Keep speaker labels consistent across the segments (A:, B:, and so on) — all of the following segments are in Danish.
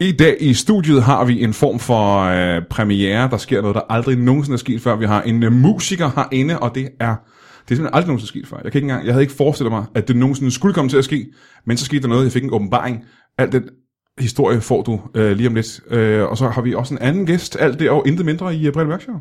A: I dag i studiet har vi en form for øh, premiere. Der sker noget, der aldrig nogensinde er sket før. Vi har en øh, musiker herinde, og det er, det er simpelthen aldrig nogensinde sket før. Jeg, kan ikke engang, jeg havde ikke forestillet mig, at det nogensinde skulle komme til at ske, men så skete der noget. Jeg fik en åbenbaring. Alt den historie får du øh, lige om lidt. Øh, og så har vi også en anden gæst. Alt det og intet mindre i øh, Brille Mørk Show.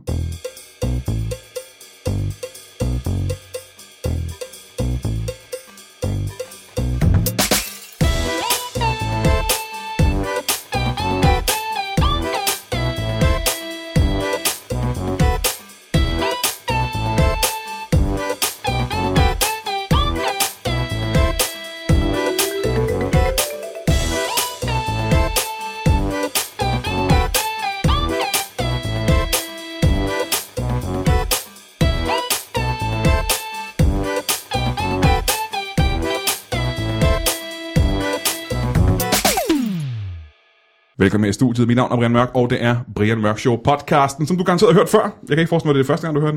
A: Velkommen her i studiet. Mit navn er Brian Mørk, og det er Brian Mørk Show podcasten, som du garanteret har hørt før. Jeg kan ikke forestille mig, at det er det første gang, du hører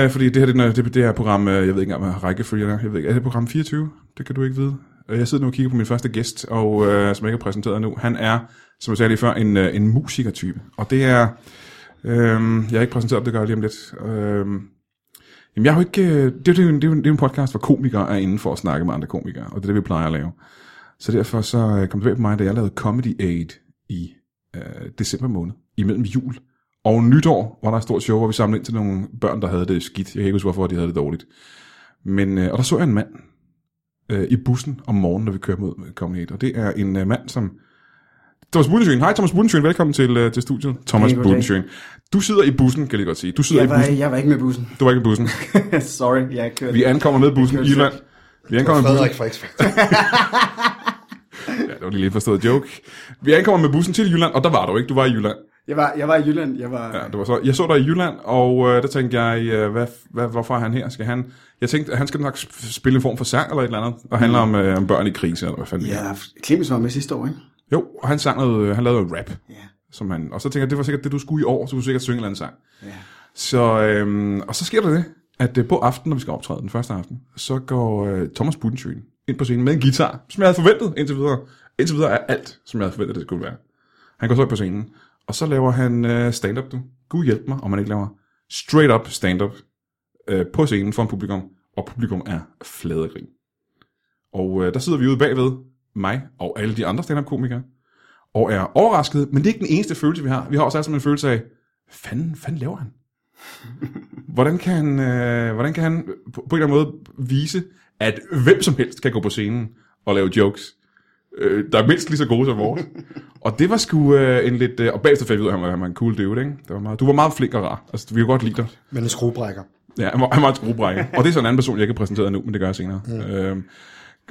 A: den. Øh, fordi det her, det, er den- det, det her program, øh, jeg ved ikke engang, hvad rækkefølgen er. Jeg ved ikke, er det program 24? Det kan du ikke vide. Øh, Jeg sidder nu og kigger på min første gæst, og øh, som jeg ikke har præsenteret nu. Han er, som jeg sagde lige før, en, øh, en musikertype. Og det er... Øh, jeg har ikke præsenteret ham, det gør jeg lige om lidt. Øh, Jamen, jeg har jo ikke... øh, Det, det, er jo en- det, er jo en- det er jo en podcast, hvor komikere er inde for at snakke med andre komikere, og det er det, vi plejer at lave. Så derfor så øh, kom det bag på mig, da jeg lavede Comedy Aid i øh, december måned, imellem jul og nytår, var der et stort show, hvor vi samlede ind til nogle børn, der havde det skidt. Jeg kan ikke huske, hvorfor de havde det dårligt. Men, øh, og der så jeg en mand øh, i bussen om morgenen, når vi kørte mod Comedy Aid, og det er en øh, mand, som... Thomas Budensjøen. Hej Thomas Budensjøen, velkommen til, øh, til studiet. Thomas hey,
B: Hey, goddag.
A: Budensjøen. Du sidder i bussen, kan jeg lige godt sige. Du sidder
B: Jeg
A: i
B: var,
A: bussen.
B: jeg var ikke med bussen.
A: Du var ikke i bussen.
B: Sorry, jeg kørte.
A: Vi ankommer med bussen i
B: Kører
A: Jylland. Vi ankommer med bussen.
C: Frederik fra X Factor.
A: Ja, det var lige lidt forstået joke. Vi ankommer med bussen til Jylland, og der var du ikke. Du var i Jylland.
B: Jeg var, jeg var i Jylland. Jeg var,
A: Ja, det var så. Jeg så dig i Jylland, og øh, der tænkte jeg, øh, hvad, hvad, hvorfor er han her? Skal han... Jeg tænkte, at han skal nok sp- spille en form for sang eller et eller andet, og handler om, øh, om børn i krise, eller hvad fanden det er.
B: ja. Clemens var med sidste år, ikke?
A: Jo, og han, sang noget, øh, han lavede noget rap.
B: Ja.
A: Som han, og så tænker jeg, det var sikkert det, du skulle i år, så skulle du sikkert synge en eller anden sang.
B: ja.
A: Så, øhm, og så sker der det, at øh, på aftenen, når vi skal optræde den første aften, så går øh, Thomas Budensjøen ind på scenen med en guitar, som jeg havde forventet indtil videre. Indtil videre er alt, som jeg havde forventet, det skulle være. Han går så op på scenen, og så laver han øh, stand-up, du. Gud hjælp mig, om man ikke laver straight-up stand-up øh, på scenen for en publikum, og publikum er fladegrin. Og øh, der sidder vi ude bagved, mig og alle de andre stand-up-komikere, og er overrasket, men det er ikke den eneste følelse, vi har. Vi har også altså en følelse af, fanden, fanden laver han? Hvordan kan han, øh, hvordan kan han på, på en eller anden måde vise, at hvem som helst kan gå på scenen og lave jokes, øh, der er mindst lige så gode som vores? og det var sgu øh, en lidt... Øh, og bagefter fandt vi ud af, at han var, han var en cool dude, ikke? Det var meget, du var meget flink og rar. Altså, vi kunne godt lide dig.
C: Men en skruebrækker.
A: Ja, han var, han var en skruebrækker. og det er så en anden person, jeg ikke har præsenteret nu, men det gør jeg senere. Mm. Øh,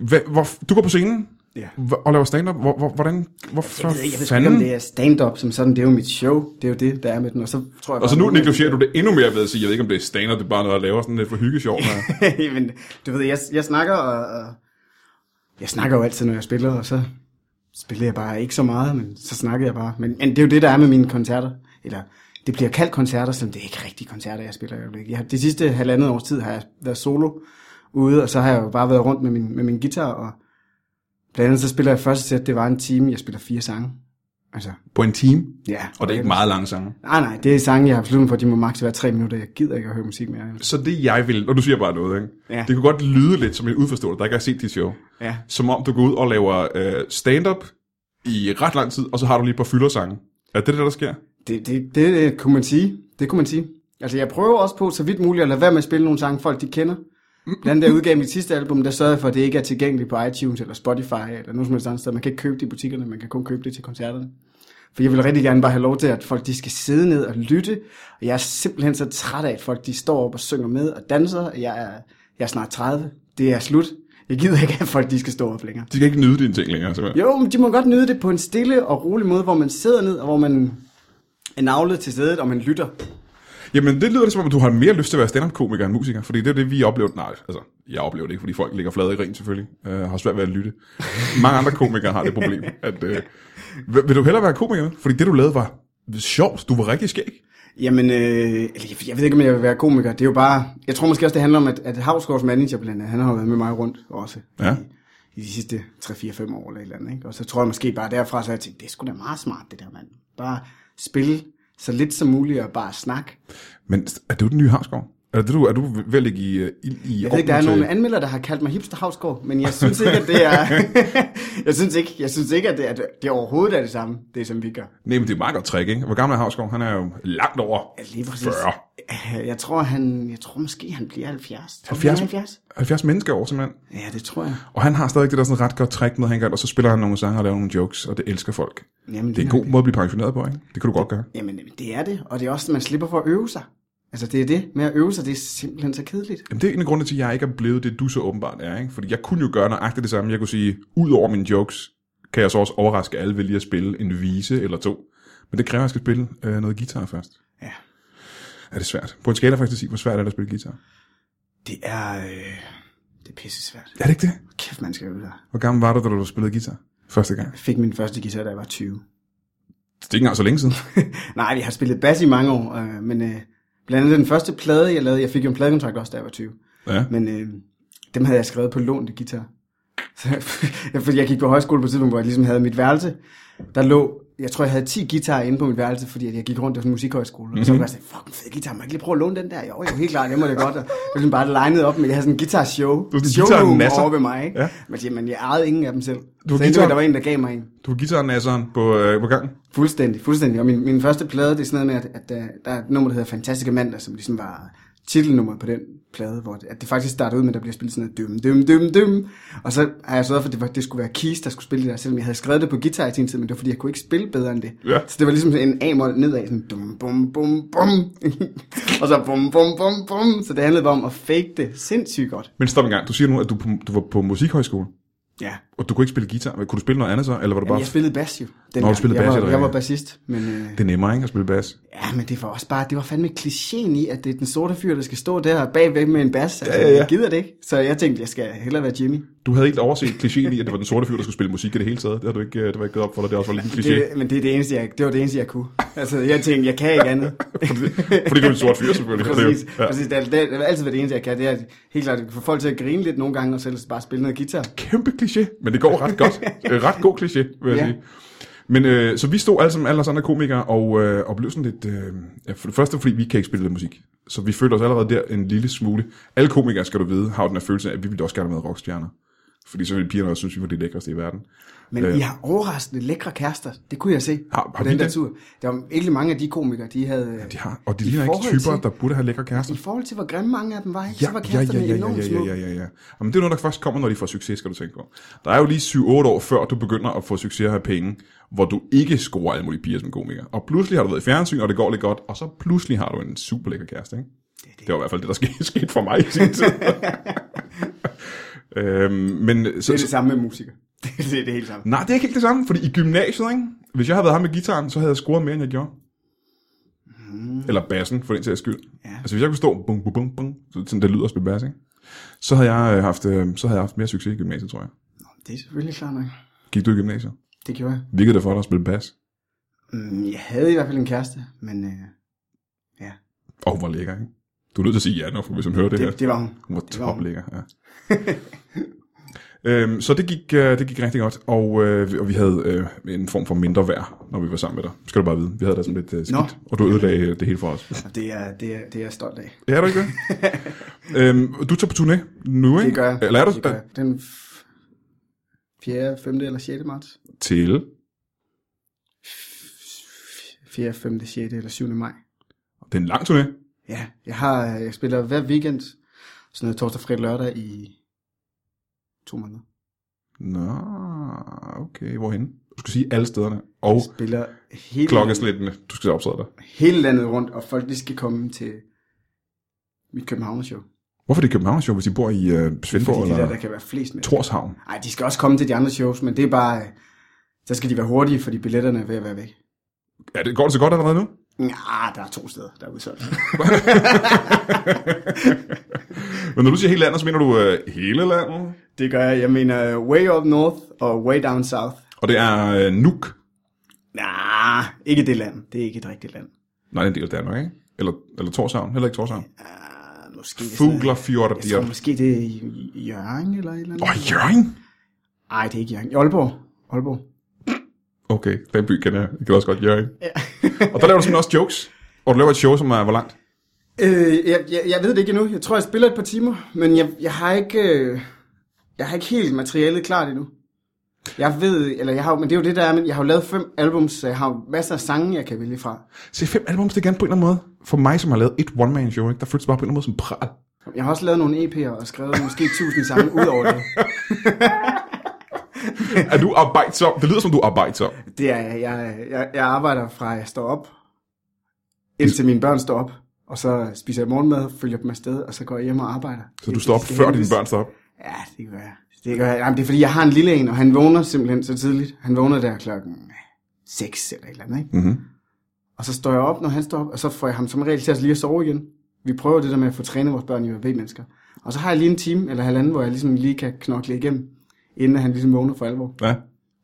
A: hvad, hvor, du går på scenen
B: Ja. Altså,
A: hv- og laver stand-up. Hvor, hvor, hvordan, hvorfor
B: Jeg ved, ikke, jeg ved sgu ikke, om
A: fanden?
B: det er stand-up som sådan. Det er jo mit show. Det er jo det, der er med den. Og så tror jeg
A: Og så
B: bare-
A: nu negligerer du det endnu mere ved at sige, jeg ved ikke, om det er stand-up, det er bare noget, jeg laver sådan lidt for hyggesjov. men-
B: Men du ved, jeg, jeg snakker og, og... Jeg snakker jo altid, når jeg spiller, og så spiller jeg bare ikke så meget, men så snakker jeg bare. Men, men det er jo det, der er med mine koncerter. Eller det bliver kaldt koncerter, selvom det er ikke rigtige koncerter, jeg spiller i øjeblikket. Jeg har, det sidste halvandet års tid har jeg været solo ude, og så har jeg jo bare været rundt med min, med min guitar, og blandt andet så spiller jeg første sæt, det var en time, jeg spiller fire sange. Altså,
A: På en time.
B: ja.
A: Og det er ikke meget lange sange.
B: Nej, nej, det er sange, jeg har besluttet mig for, de må maks være tre minutter. Jeg gider ikke at høre musik mere.
A: Så det jeg vil, og du siger bare noget, ikke?
B: Ja.
A: Det kunne godt lyde lidt som en udforståelse, der ikke har set dit show.
B: Ja.
A: Som om du går ud og laver øh, stand-up i ret lang tid, og så har du lige et par fyldersange. Er det det, der sker?
B: Det, det, det, det kunne man sige. Det kunne man sige. Altså, jeg prøver også på, så vidt muligt, at lade være med at spille nogle sange, folk de kender. Blandt andet, da jeg udgav mit sidste album, der sørgede jeg for, at det ikke er tilgængeligt på iTunes eller Spotify eller nogen som helst andet sted. Man kan ikke købe det i butikkerne, man kan kun købe det til koncerterne. For jeg vil rigtig gerne bare have lov til, at folk de skal sidde ned og lytte. Og jeg er simpelthen så træt af, at folk de står op og synger med og danser. Jeg er, jeg er snart 30. Det er slut. Jeg gider ikke, at folk de skal stå op længere.
A: De kan ikke nyde dine ting længere, simpelthen.
B: Jo, men de må godt nyde det på en stille og rolig måde, hvor man sidder ned, og hvor man er navlet til stedet, og man lytter.
A: Jamen, det lyder det som om, at du har mere lyst til at være stand-up-komiker end musiker, fordi det er det, vi oplevede. Nej, altså, jeg oplevede det ikke, fordi folk ligger flade i ring selvfølgelig, øh, har svært ved at lytte. Mange andre komikere har det problem, at øh, vil, vil du hellere være komiker? Fordi det, du lavede, var sjovt. Du var rigtig skæg.
B: Jamen, øh, eller jeg- jeg ved ikke, om jeg vil være komiker. Det er jo bare... Jeg tror måske også, det handler om, at, at Havsgaards manager blandt andet, han har jo været med mig rundt også.
A: Ja.
B: I, i de sidste 3-4-5 år eller et eller andet. Ikke? Og så tror jeg måske bare derfra, så har jeg tænkt, det er sgu da meget smart det der, mand. Bare spille så lidt som muligt og bare snakke.
A: Men er du den nye Havsgaard? Er du, er du ved at ligge i, øh, ild i
B: Jeg ved ikke, der er
A: ovnen til-
B: nogle anmeldere, der har kaldt mig hipster Havsgaard, men jeg synes ikke, at det er... jeg synes ikke, jeg synes ikke at, det, at det overhovedet er det samme, det som vi gør.
A: Nej, men det er et meget godt trick, ikke? Hvor gammel er Havsgaard? Han er jo langt over
B: Ja, lige præcis.
A: 40.
B: Jeg tror, han, jeg tror måske, han bliver 70. Tror du, han er
A: 70,
B: 70?
A: 70 mennesker over, simpelthen.
B: Ja, det tror jeg.
A: Og han har stadig det der sådan ret godt trick med, han gør, og så spiller han nogle sange og laver nogle jokes, og det elsker folk.
B: Jamen,
A: Det er en god måde at blive pensioneret på, ikke? Det kan du godt gøre.
B: Jamen, det er det. Og det er også, at man slipper for at øve sig. Altså, det er det. Med at øve sig, det er simpelthen så kedeligt.
A: Jamen, det er en af grundene til, at jeg ikke er blevet det, du så åbenbart er, ikke? Fordi jeg kunne jo gøre nøjagtigt det samme. Jeg kunne sige, ud over mine jokes, kan jeg så også overraske alle ved lige at spille en vise eller to. Men det kræver, at jeg skal spille øh, noget guitar først.
B: Ja.
A: Er det svært? På en skala faktisk at sige, hvor svært er det at spille guitar?
B: Det er... Øh, det er pisse svært.
A: Er det ikke det?
B: Kæft, man skal øve sig.
A: Hvor gammel var du, da du spillede guitar første gang?
B: Jeg fik min første guitar, da jeg var 20.
A: Det er ikke engang så længe siden.
B: Nej, jeg har spillet bas i mange år, øh, men øh, blandt andet den første plade, jeg lavede, jeg fik jo en pladekontrakt også, da jeg var 20.
A: Ja.
B: Men øh, dem havde jeg skrevet på lånte guitar. Så jeg, fordi jeg gik på højskole på et tidspunkt, hvor jeg ligesom havde mit værelse. Der lå, jeg tror, jeg havde 10 guitarer inde på mit værelse, fordi at jeg gik rundt til sådan en musikhøjskole. Mm-hmm. Og så
A: Mhm.
B: var jeg sådan, fuck, en fed guitar, må jeg ikke lige prøve at låne den der? Jo, jo, helt klart, jeg må det godt. Og det var ligesom bare legnet op, men jeg havde sådan en guitar-show.
A: sådan en
B: showroom
A: guitar-nasser.
B: over ved mig, ikke?
A: Ja.
B: Ja. Men jamen, jeg ejede ingen af dem selv.
A: Du var
B: Du så endte
A: guitar-
B: med, at der var en, der gav mig en.
A: Du var guitarnasseren på, øh, på gangen.
B: Fuldstændig, fuldstændig. Og min, min første plade, det er sådan noget med, at, at der, der er et nummer, der hedder Fantastiske Mandag, som ligesom var titelnummeret på den plade, hvor det, at det faktisk starter ud med, at der bliver spillet sådan noget døm, døm, døm, døm. Og så har jeg sørget for, at det, var, det skulle være Keys, der skulle spille det der, selvom jeg havde skrevet det på guitar i sin tid, men det var fordi, jeg kunne ikke spille bedre end det.
A: Ja.
B: Så det var ligesom en A-mol nedad, sådan bum, bum, bum, bum, og så bum, bum, bum, bum. Så det handlede bare om at fake det sindssygt godt.
A: Men stop en gang. Du siger nu, at du, på, du var på musikhøjskole,
B: Ja.
A: og du kunne ikke spille guitar. Men Kunne du spille noget andet så, eller var du bare...
B: Jamen, jeg spillede bas jo. dengang.
A: du spillede
B: jeg
A: bas, er
B: var,
A: det
B: jeg var
A: rigtigt?
B: bassist, men... Øh,
A: Det er nemmere, ikke, at spille bass.
B: Ja, men det var også bare, det var fandme klichéen i, at det er den sorte fyr, der skal stå der bagved med en bas. Altså,
A: Ja, ja, ja.
B: Jeg gider det ikke. Så jeg tænkte, jeg skal hellere være Jimmy.
A: Du havde helt overset klichéen i, at det var den sorte fyr, der skulle spille musik i det hele taget. Det har du ikke, øh, det var ikke gået op for dig. Det også var lidt en kliché.
B: Det, men det, er det, eneste, jeg, det var det eneste, jeg kunne. Altså, jeg tænkte, jeg kan ikke andet.
A: Fordi du er en sort fyr, selvfølgelig. Det er jo-
B: præcis,
A: ja.
B: præcis. Det, er, det, er, det er altid været det eneste, jeg kan. Det er helt klart, at få folk til at grine lidt nogle gange, og så ellers bare spille noget guitar.
A: Kæmpe kliché, men det går ret godt. Øh, ret god kliché, vil jeg ja.
B: Ja.
A: sige. Men øh, så vi stod alle som alle os andre komikere og, øh, og blev sådan lidt... Øh, ja, for det første, fordi vi kan ikke spille lidt musik. Så vi følte os allerede der en lille smule. Alle komikere, skal du vide, har jo den her følelse af, at vi ville også gerne være med rockstjerner. Fordi så ville pigerne også synes, vi var det lækreste i verden.
B: Men I har overraskende lækre kærester. Det kunne jeg se
A: Har- har
B: på
A: vi
B: den der
A: det?
B: tur. Der var ikke mange af de komikere, de havde...
A: De har, og de
B: I
A: ligner ikke
B: forhold
A: typer,
B: til-
A: der burde have lækre kærester.
B: I forhold til, hvor grimme mange af dem var, ikke?
A: Ja,
B: så var
A: ja,
B: kæresterne
A: ja, ja, ja,
B: enormt
A: ja,
B: små.
A: ja, ja, ja. Jamen, det er noget, der først kommer, når de får succes, skal du tænke på. Der er jo lige 7-8 år, før du begynder at få succes og have penge, hvor du ikke scorer alle mulige piger som komiker. Og pludselig har du været i fjernsyn, og det går lidt godt, og så pludselig har du en super lækker kæreste, ikke? Det, det. det var i hvert fald det, der skete, skete for mig i sin tid. øhm, men, så,
B: Det er det samme med musikere. Det er det, er det helt samme.
A: Nej, det er ikke helt det samme, fordi i gymnasiet, ikke? hvis jeg havde været ham med gitaren, så havde jeg scoret mere, end jeg gjorde. Mm. Eller bassen, for den sags skyld. Ja.
B: Ja.
A: Altså hvis jeg kunne stå, bum, bum, bum, bum, så sådan det lyder at spille bass, ikke? så havde jeg øh, haft, øh, så havde jeg haft mere succes i gymnasiet, tror jeg.
B: Det er selvfølgelig klart nok.
A: Gik du i gymnasiet?
B: Det gjorde jeg.
A: Virkede det for dig at spille bass?
B: Mm, jeg havde i hvert fald en kæreste, men øh, ja,
A: Åh, oh, hvor lækker, ikke? Du er nødt til at sige ja, når, hvis hun hører det, her.
B: det, det var hun.
A: Hun var
B: var hun.
A: top lækker, ja. øhm, så det gik, øh, det gik rigtig godt, og, øh, vi- og vi havde øh, en form for mindre værd, når vi var sammen med dig. Skal du bare vide, vi havde da sådan lidt øh, skidt,
B: Nå.
A: og du ødelagde øh, det hele for os.
B: Og det er, det, er, det er jeg stolt af.
A: Ja, er du ikke det? øhm, du tager på turné nu, ikke?
B: Det gør jeg.
A: Eller er du
B: det gør jeg. Den f- 4., 5. eller 6. marts?
A: til?
B: 4., 5., 6. eller 7. maj.
A: Det er en lang turné.
B: Ja, jeg, har, jeg spiller hver weekend, sådan noget torsdag, fredag, lørdag i to måneder.
A: Nå, okay. Hvorhen? Du skal sige alle stederne. Og
B: Jeg spiller hele,
A: klokkeslættene. Du skal optræde dig.
B: hele landet rundt, og folk de skal komme til mit Københavnershow.
A: Hvorfor er det København show, hvis I bor i øh, Svendborg
B: Fordi de
A: eller
B: der, der kan være flest med.
A: Torshavn?
B: Ej, de skal også komme til de andre shows, men det er bare... øh, Så skal de være hurtige, fordi billetterne er ved at være væk.
A: Ja, det går det så godt allerede nu?
B: Ja, der er to steder, der er udsolgt.
A: Men når du siger hele landet, så mener du øh, hele landet?
B: det gør jeg. Jeg mener øh, way up north og way down south.
A: Og det er øh, Nuuk.
B: Nej, ikke det land. Det er ikke et rigtigt land.
A: Nej, det er en del af Danmark, ikke? Eller, eller Torshavn. Heller ikke Torshavn.
B: Ah, måske det er sådan-
A: Fuglerfjord.
B: Jeg tror måske det er i i Hjørring eller et eller andet.
A: Og Jørgen?
B: Nej, det er ikke Jørgen. I Aalborg. Aalborg.
A: Okay, den by kender jeg. Jeg kan også godt Jørgen. Ja. og der laver du simpelthen også jokes. Og du laver et show, som er hvor langt?
B: Øh, jeg, jeg, jeg ved det ikke endnu. Jeg tror, jeg spiller et par timer, men jeg, jeg har ikke... Øh, jeg har ikke helt materialet klart endnu. Jeg ved, eller jeg har, jo- men det er jo det, der er, men jeg har jo lavet fem albums, så jeg har jo masser af sange, jeg kan vælge fra.
A: Se, fem albums, det er gerne på en eller anden måde. For mig, som har lavet et one-man-show, ikke? der føles det bare på en eller anden måde som pral.
B: Jeg har også lavet nogle EP'er og skrevet måske tusind sange ud over det.
A: Er du arbejdsom? Det lyder som, du er arbejdsom.
B: Det er, jeg, jeg, jeg arbejder fra, at jeg står op, indtil mine børn står op. Og så spiser jeg morgenmad, følger dem afsted, og så går jeg hjem og arbejder.
A: Så du står op, før dine børn står op.
B: Ja, det gør jeg. Det gør jeg. Jamen, det er fordi, jeg har en lille en, og han vågner simpelthen så tidligt. Han vågner der klokken 6 eller et eller andet, ikke?
A: Mhm.
B: Og så står jeg op, når han står op, og så får jeg ham som regel til at lige at sove igen. Vi prøver det der med at få trænet vores børn i at være mennesker. Og så har jeg lige en time eller halvanden, hvor jeg ligesom lige kan knokle igennem, inden han ligesom vågner for alvor.
A: Ja.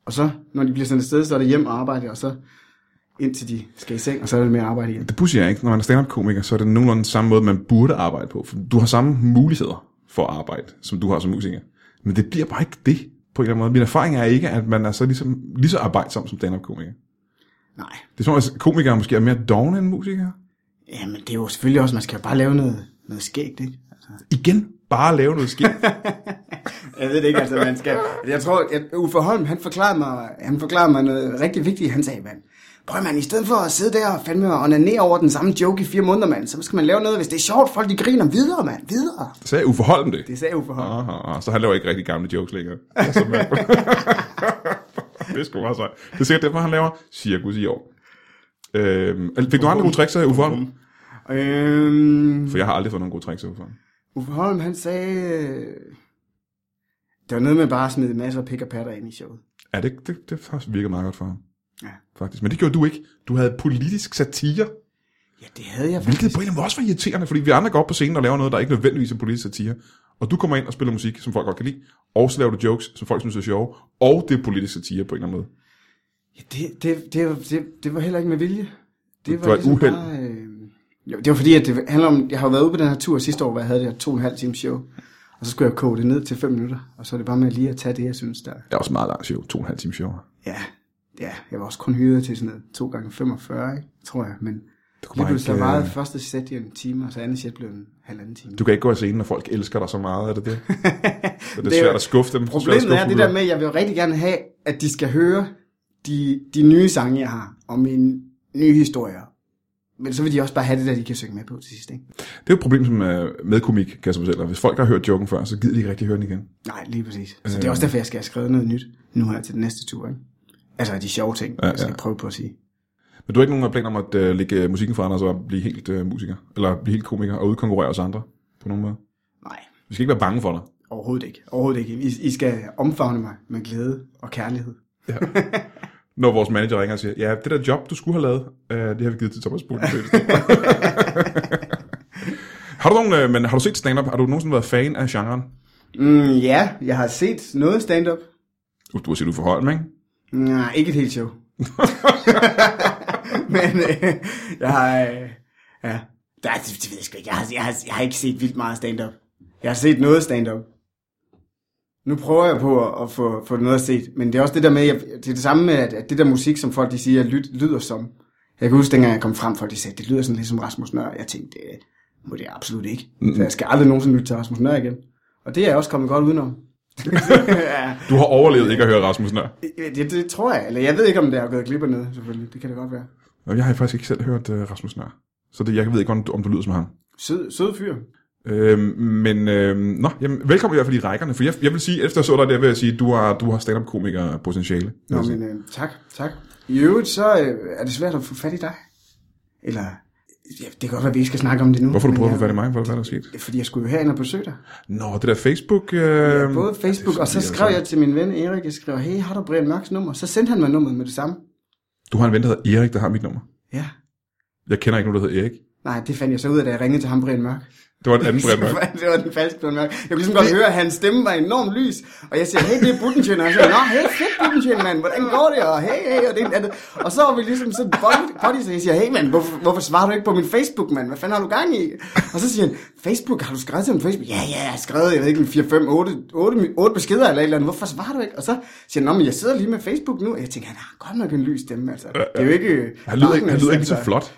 B: Og så, når de bliver sendt afsted, så er det hjem og arbejde, og så indtil de skal i seng, og så er det med at arbejde igen.
A: Det pusher jeg ikke. Når man er stand-up-komiker, så er det nogenlunde samme måde, man burde arbejde på. For du har samme muligheder for at arbejde, som du har som musiker. Men det bliver bare ikke det på en eller anden måde. Min erfaring er ikke, at man er så ligesom, lige så arbejdsom som stand-up-komiker.
B: Nej,
A: Det er som om, at komikere måske er mere dogne end musikere.
B: jamen det er jo selvfølgelig også, man skal jo bare lave noget, noget skægt, ikke? Altså.
A: Igen, bare lave noget skidt.
B: Jeg ved det ikke, altså man skal. Jeg tror, at Uffe Holm, han forklarede mig, han forklarede mig noget rigtig vigtigt. Han sagde, mand, prøv man, i stedet for at sidde der og fandme og onanere over den samme joke i fire måneder, mand, så skal man lave noget, hvis det er sjovt, folk de griner videre, mand, videre.
A: Så er Uffe Holm det.
B: Det sagde Uffe Holm.
A: Aha, aha, så han laver ikke rigtig gamle jokes længere. Det er så mærkeligt. det er sgu meget sejt. Det er sikkert derfor, han laver cirkus i år. Øhm, fik du andre gode tricks af Uffe Holm?
B: Øhm,
A: For jeg har aldrig fået nogen gode tricks af Uffe Holm.
B: Uffe Holm, han sagde, øh, det var noget med bare at smide masser af pik og patter ind i showet.
A: Ja, det, det, det har virket meget godt for ham.
B: Ja.
A: Faktisk. Men det gjorde du ikke. Du havde politisk satire,
B: Ja, det havde jeg
A: hvilket
B: faktisk.
A: på en eller anden måde også var irriterende, fordi vi andre går op på scenen og laver noget, der ikke nødvendigvis er politisk satire. Og du kommer ind og spiller musik, som folk godt kan lide, og så laver du jokes, som folk synes er sjove, og det er politisk satire på en eller anden måde.
B: Ja, det, det, det, det, det var heller ikke med vilje.
A: Det var et uheld.
B: bare, øh, jo, det var fordi, at det handler om, jeg har jo været ude på den her tur sidste år, hvor jeg havde det her to og en halv times show. Og så skulle jeg koge det ned til fem minutter, og så er det bare med lige at tage det, jeg synes der.
A: Det er også meget langt show, to og en halv time show.
B: Ja, ja, jeg var også kun hyret til sådan noget, to gange 45, ikke? tror jeg. Men
A: kunne
B: lige
A: bare
B: pludselig
A: ikke,
B: så varede
A: øh,
B: første sæt i en time, og så andet sæt blev en halvanden time.
A: Du kan ikke gå af scenen, når folk elsker dig så meget, er det det? Så det er
B: Det er-
A: svært at skuffe dem.
B: Problemet er det der med, at jeg vil jo rigtig gerne have, at de skal høre de, de nye sange, jeg har, og mine nye historier. Men så vil de også bare have det der, de kan synge med på til sidst, ikke?
A: Det er jo et problem som øh, med komik, kan jeg så fortælle dig. Hvis folk har hørt joken før, så gider de ikke rigtig høre den igen.
B: Nej, lige præcis. Så det
A: Øh.
B: er også derfor, jeg skal have skrevet noget nyt nu her til den næste tur, ikke? Altså de sjove ting, ja, jeg skal
A: ja.
B: prøve på at sige.
A: Men du har ikke nogen planer om at øh, lægge musikken fra dig, og så blive helt øh, musiker, eller blive helt komiker, og udkonkurrere os andre på nogen måde?
B: Nej,
A: Vi skal ikke være bange for dig.
B: overhovedet ikke. Overhovedet ikke. I, I skal omfavne mig med glæde og kærlighed.
A: Når vores manager ringer og siger, ja, det der job, du skulle have lavet, øh, det har vi givet til Thomas Bullen. har du nogen, øh, men har du set stand-up? Har du nogensinde været fan af genren?
B: Mm, ja, jeg har set noget stand-up.
A: Uh, Du har set Uffe Holm, ikke?
B: Nej, ikke et helt show. Men øh, jeg har... Øh, ja. Der, det, det ved jeg sgu ikke. Jeg har, jeg, har, jeg har ikke set vildt meget stand-up. Jeg har set noget stand-up. Nu prøver jeg på at, at få, få noget at se, men det er også det der med, jeg, det er det samme med, at, at det der musik, som folk de siger, lyt, lyder som. Jeg kan huske, dengang jeg kom frem, folk de sagde, det lyder sådan lidt som Rasmus Nør. Jeg tænkte, det må det absolut ikke. Mm. Så jeg skal aldrig nogensinde lytte til Rasmus Nør igen. Og det er jeg også kommet godt udenom. ja.
A: Du har overlevet ikke at høre Rasmus Nør.
B: Ja, Det, det tror jeg. Eller jeg ved ikke, om det er gået glip af noget, selvfølgelig. Det kan det godt være.
A: Nå, Jeg har faktisk ikke selv hørt øh, Rasmus Nør. Så det, jeg ved ikke, om du, om du lyder som ham.
B: Sød, sød fyr.
A: Øhm, men øhm, nå, jamen, velkommen i hvert fald i rækkerne. For jeg, jeg vil sige, efter jeg så dig der, vil jeg sige, du har, du har stand-up-komiker potentiale.
B: Nå, men øh, tak, tak. I øvrigt, så øh, er det svært at få fat i dig. Eller, ja, det kan godt være, at vi ikke skal snakke om det nu.
A: Hvorfor har du prøvet
B: men
A: at
B: jeg-
A: få fat i mig? Hvad, hvad er der sket?
B: Det er, Fordi jeg skulle jo herind og besøge dig.
A: Nå, det der Facebook... Øh,
B: Både Facebook, og så skrev jeg til min ven Erik, jeg skrev, hey, har du Brian Mørks nummer? Så sendte han mig nummeret med det samme.
A: Du har en ven, der hedder Erik, der har mit nummer.
B: Ja.
A: Jeg kender ikke nogen, der hedder Erik.
B: Nej, det fandt jeg så ud af, da jeg ringede til ham, Brian Mørk.
A: Det var en anden Brian Mørk.
B: det var den falske Brian Mørk. Jeg kunne ligesom godt høre, at hans stemme var enormt lys. Og jeg siger, hey, det er Buttentjøn. Og jeg siger, nå, hey, fedt Buttentjøn, mand. Hvordan går det? Og hey, hey, og det ene og det. Og så var vi ligesom sådan buddies, og jeg siger, hey, mand, hvorfor, hvorfor svarer du ikke på min Facebook, mand? Hvad fanden har du gang i? Og så siger han, Facebook, har du skrevet til mig på Facebook? Ja, ja, jeg har skrevet, jeg ved ikke, 4, 5, 8, 8, 8 beskeder eller et eller andet. Hvorfor svarer du ikke? Og så siger han, nå, men jeg sidder lige med Facebook nu. Og jeg tænker, han har godt nok en lys stemme, altså. Det er jo ikke...
A: Han lyder, ikke, han lyder ikke
B: altså.
A: så flot.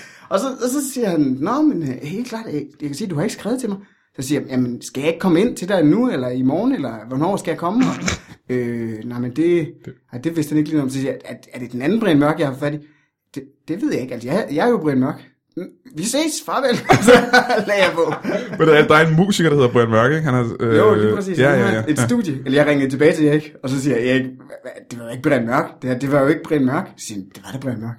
B: og, så, og så siger han, Nå, men øh, helt klart, øh, jeg kan sige, du har ikke skrevet til mig. Så siger jeg, jamen, skal jeg ikke komme ind til dig nu, eller i morgen, eller hvornår skal jeg komme? Og, øh, nej, men det, ej, det vidste han ikke lige noget om. Så siger jeg, er, er det den anden Brian Mørk, jeg har fat i? Det, det ved jeg ikke, altså, jeg, jeg er jo Brian Mørk. "Mm, Vi ses, farvel, så lagde jeg på.
A: Men der er, der er en musiker, der hedder Brian Mørk, ikke? Han er, øh,
B: Jo, lige præcis.
A: Ja,
B: Han
A: ja,
B: har
A: ja.
B: Et studie. Eller jeg ringede tilbage til Erik, og så siger jeg, Erik, hva- hva- det var jo ikke Brian Mørk. Det, her, det var jo ikke Brian Mørk. Så siger han, det var da Brian Mørk.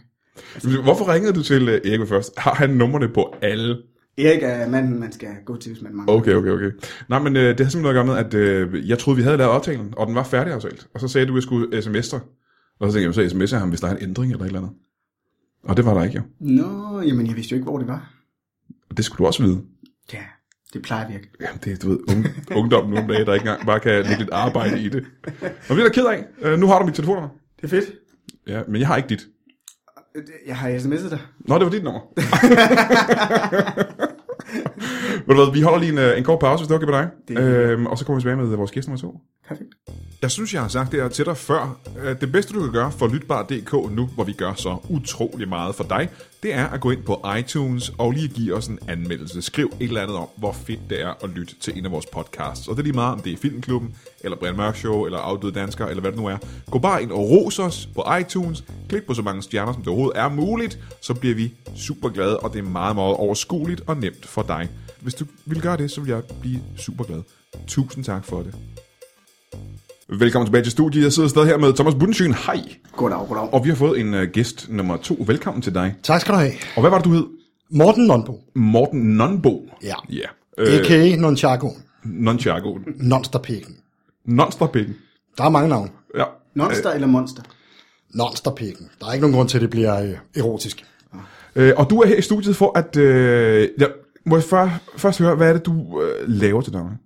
A: ja. Hvorfor ringede du til øh, Erik først? Har han nummerne på alle?
B: Erik er manden, man skal gå til, hvis man mangler.
A: Okay, okay, okay. Nej, men øh, det har simpelthen noget at gøre med, at øh, jeg troede, vi havde lavet aftalen, og den var færdig aftalt. Og så sagde du, at jeg skulle sms'er. Og så tænkte jeg, så sms'er jeg ham, hvis der er en ændring eller et eller andet. Og det var der ikke, jo.
B: Nå, jamen jeg vidste jo ikke, hvor det var.
A: Og det skulle du også vide.
B: Ja, det plejer at virke.
A: Jamen, det er, du ved, unge, ungdom nu om dagen, der ikke engang bare kan lægge lidt arbejde i det. Og det er da ked af. Øh, nu har du mit telefonnummer.
B: Det er fedt.
A: Ja, men jeg har ikke dit.
B: Jeg har sms'et dig.
A: Nå, det var dit nummer. Ved du hvad, vi holder lige en, øh, en kort pause, hvis det er okay med dig.
B: Det er helt
A: Øhm, og så kommer vi tilbage med vores gæst nummer to.
B: Perfekt.
A: Jeg synes, jeg har sagt det her til dig før. Øh, Det bedste, du kan gøre for Lytbar.dk nu, hvor vi gør så utrolig meget for dig, det er at gå ind på iTunes og lige give os en anmeldelse. Skriv et eller andet om, hvor fedt det er at lytte til en af vores podcasts. Og det er lige meget, om det er Filmklubben, eller Brian Mørk Show, eller Afdøde Dansker, eller hvad det nu er. Gå bare ind og ros os på iTunes. Klik på så mange stjerner, som det overhovedet er muligt. Så bliver vi super glade, og det er meget, meget overskueligt og nemt for dig. Hvis du vil gøre det, så vil jeg blive super glad. Tusind tak for det. Velkommen tilbage til studiet. Jeg sidder stadig her med Thomas Bundensyn. Hej.
B: Goddag, goddag.
A: Og vi har fået en uh, gæst nummer to. Velkommen til dig.
C: Tak skal du have.
A: Og hvad var det, du hed?
C: Morten Nonbo,
A: Morten Nonbo.
C: Ja.
A: Ja.
C: øh.
A: Øh,
C: a.k.a. Nonchagoen,
A: Nonchago.
C: Nonsterpikken.
A: Nonsterpikken.
C: Der er mange navne.
A: Ja.
B: Monster øh. eller monster?
C: Nonsterpikken. Der er ikke nogen grund til, at det bliver øh, erotisk.
A: Øh, og du er her i studiet for at... Øh, ja, må jeg før, først høre, hvad er det, du øh, laver til daglig?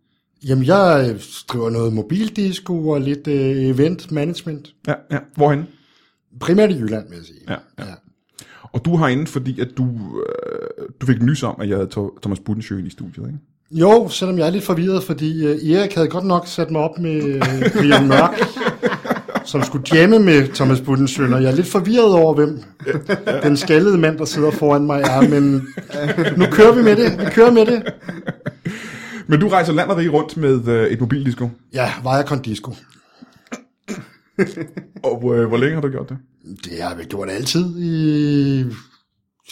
C: Jamen, jeg øh, driver noget mobildisco og lidt øh, event management.
A: Ja, ja. Hvorhen?
C: Primært i Jylland, vil jeg sige.
A: Ja,
C: ja. ja.
A: Og du har inde, fordi at du, øh, du fik nys om, at jeg havde Tho- Thomas Budensjøen i studiet, ikke?
C: Jo, selvom jeg er lidt forvirret, fordi øh, Erik havde godt nok sat mig op med øh, Brian Mørk, som skulle jamme med Thomas Buttensøn, og jeg er lidt forvirret over, hvem den skaldede mand, der sidder foran mig er, men nu kører vi med det, vi kører med det.
A: Men du rejser land og rige rundt med øh, et mobildisco.
C: Ja, Viacom Disco.
A: Og øh, hvor længe har du gjort det?
C: Det har vi gjort altid i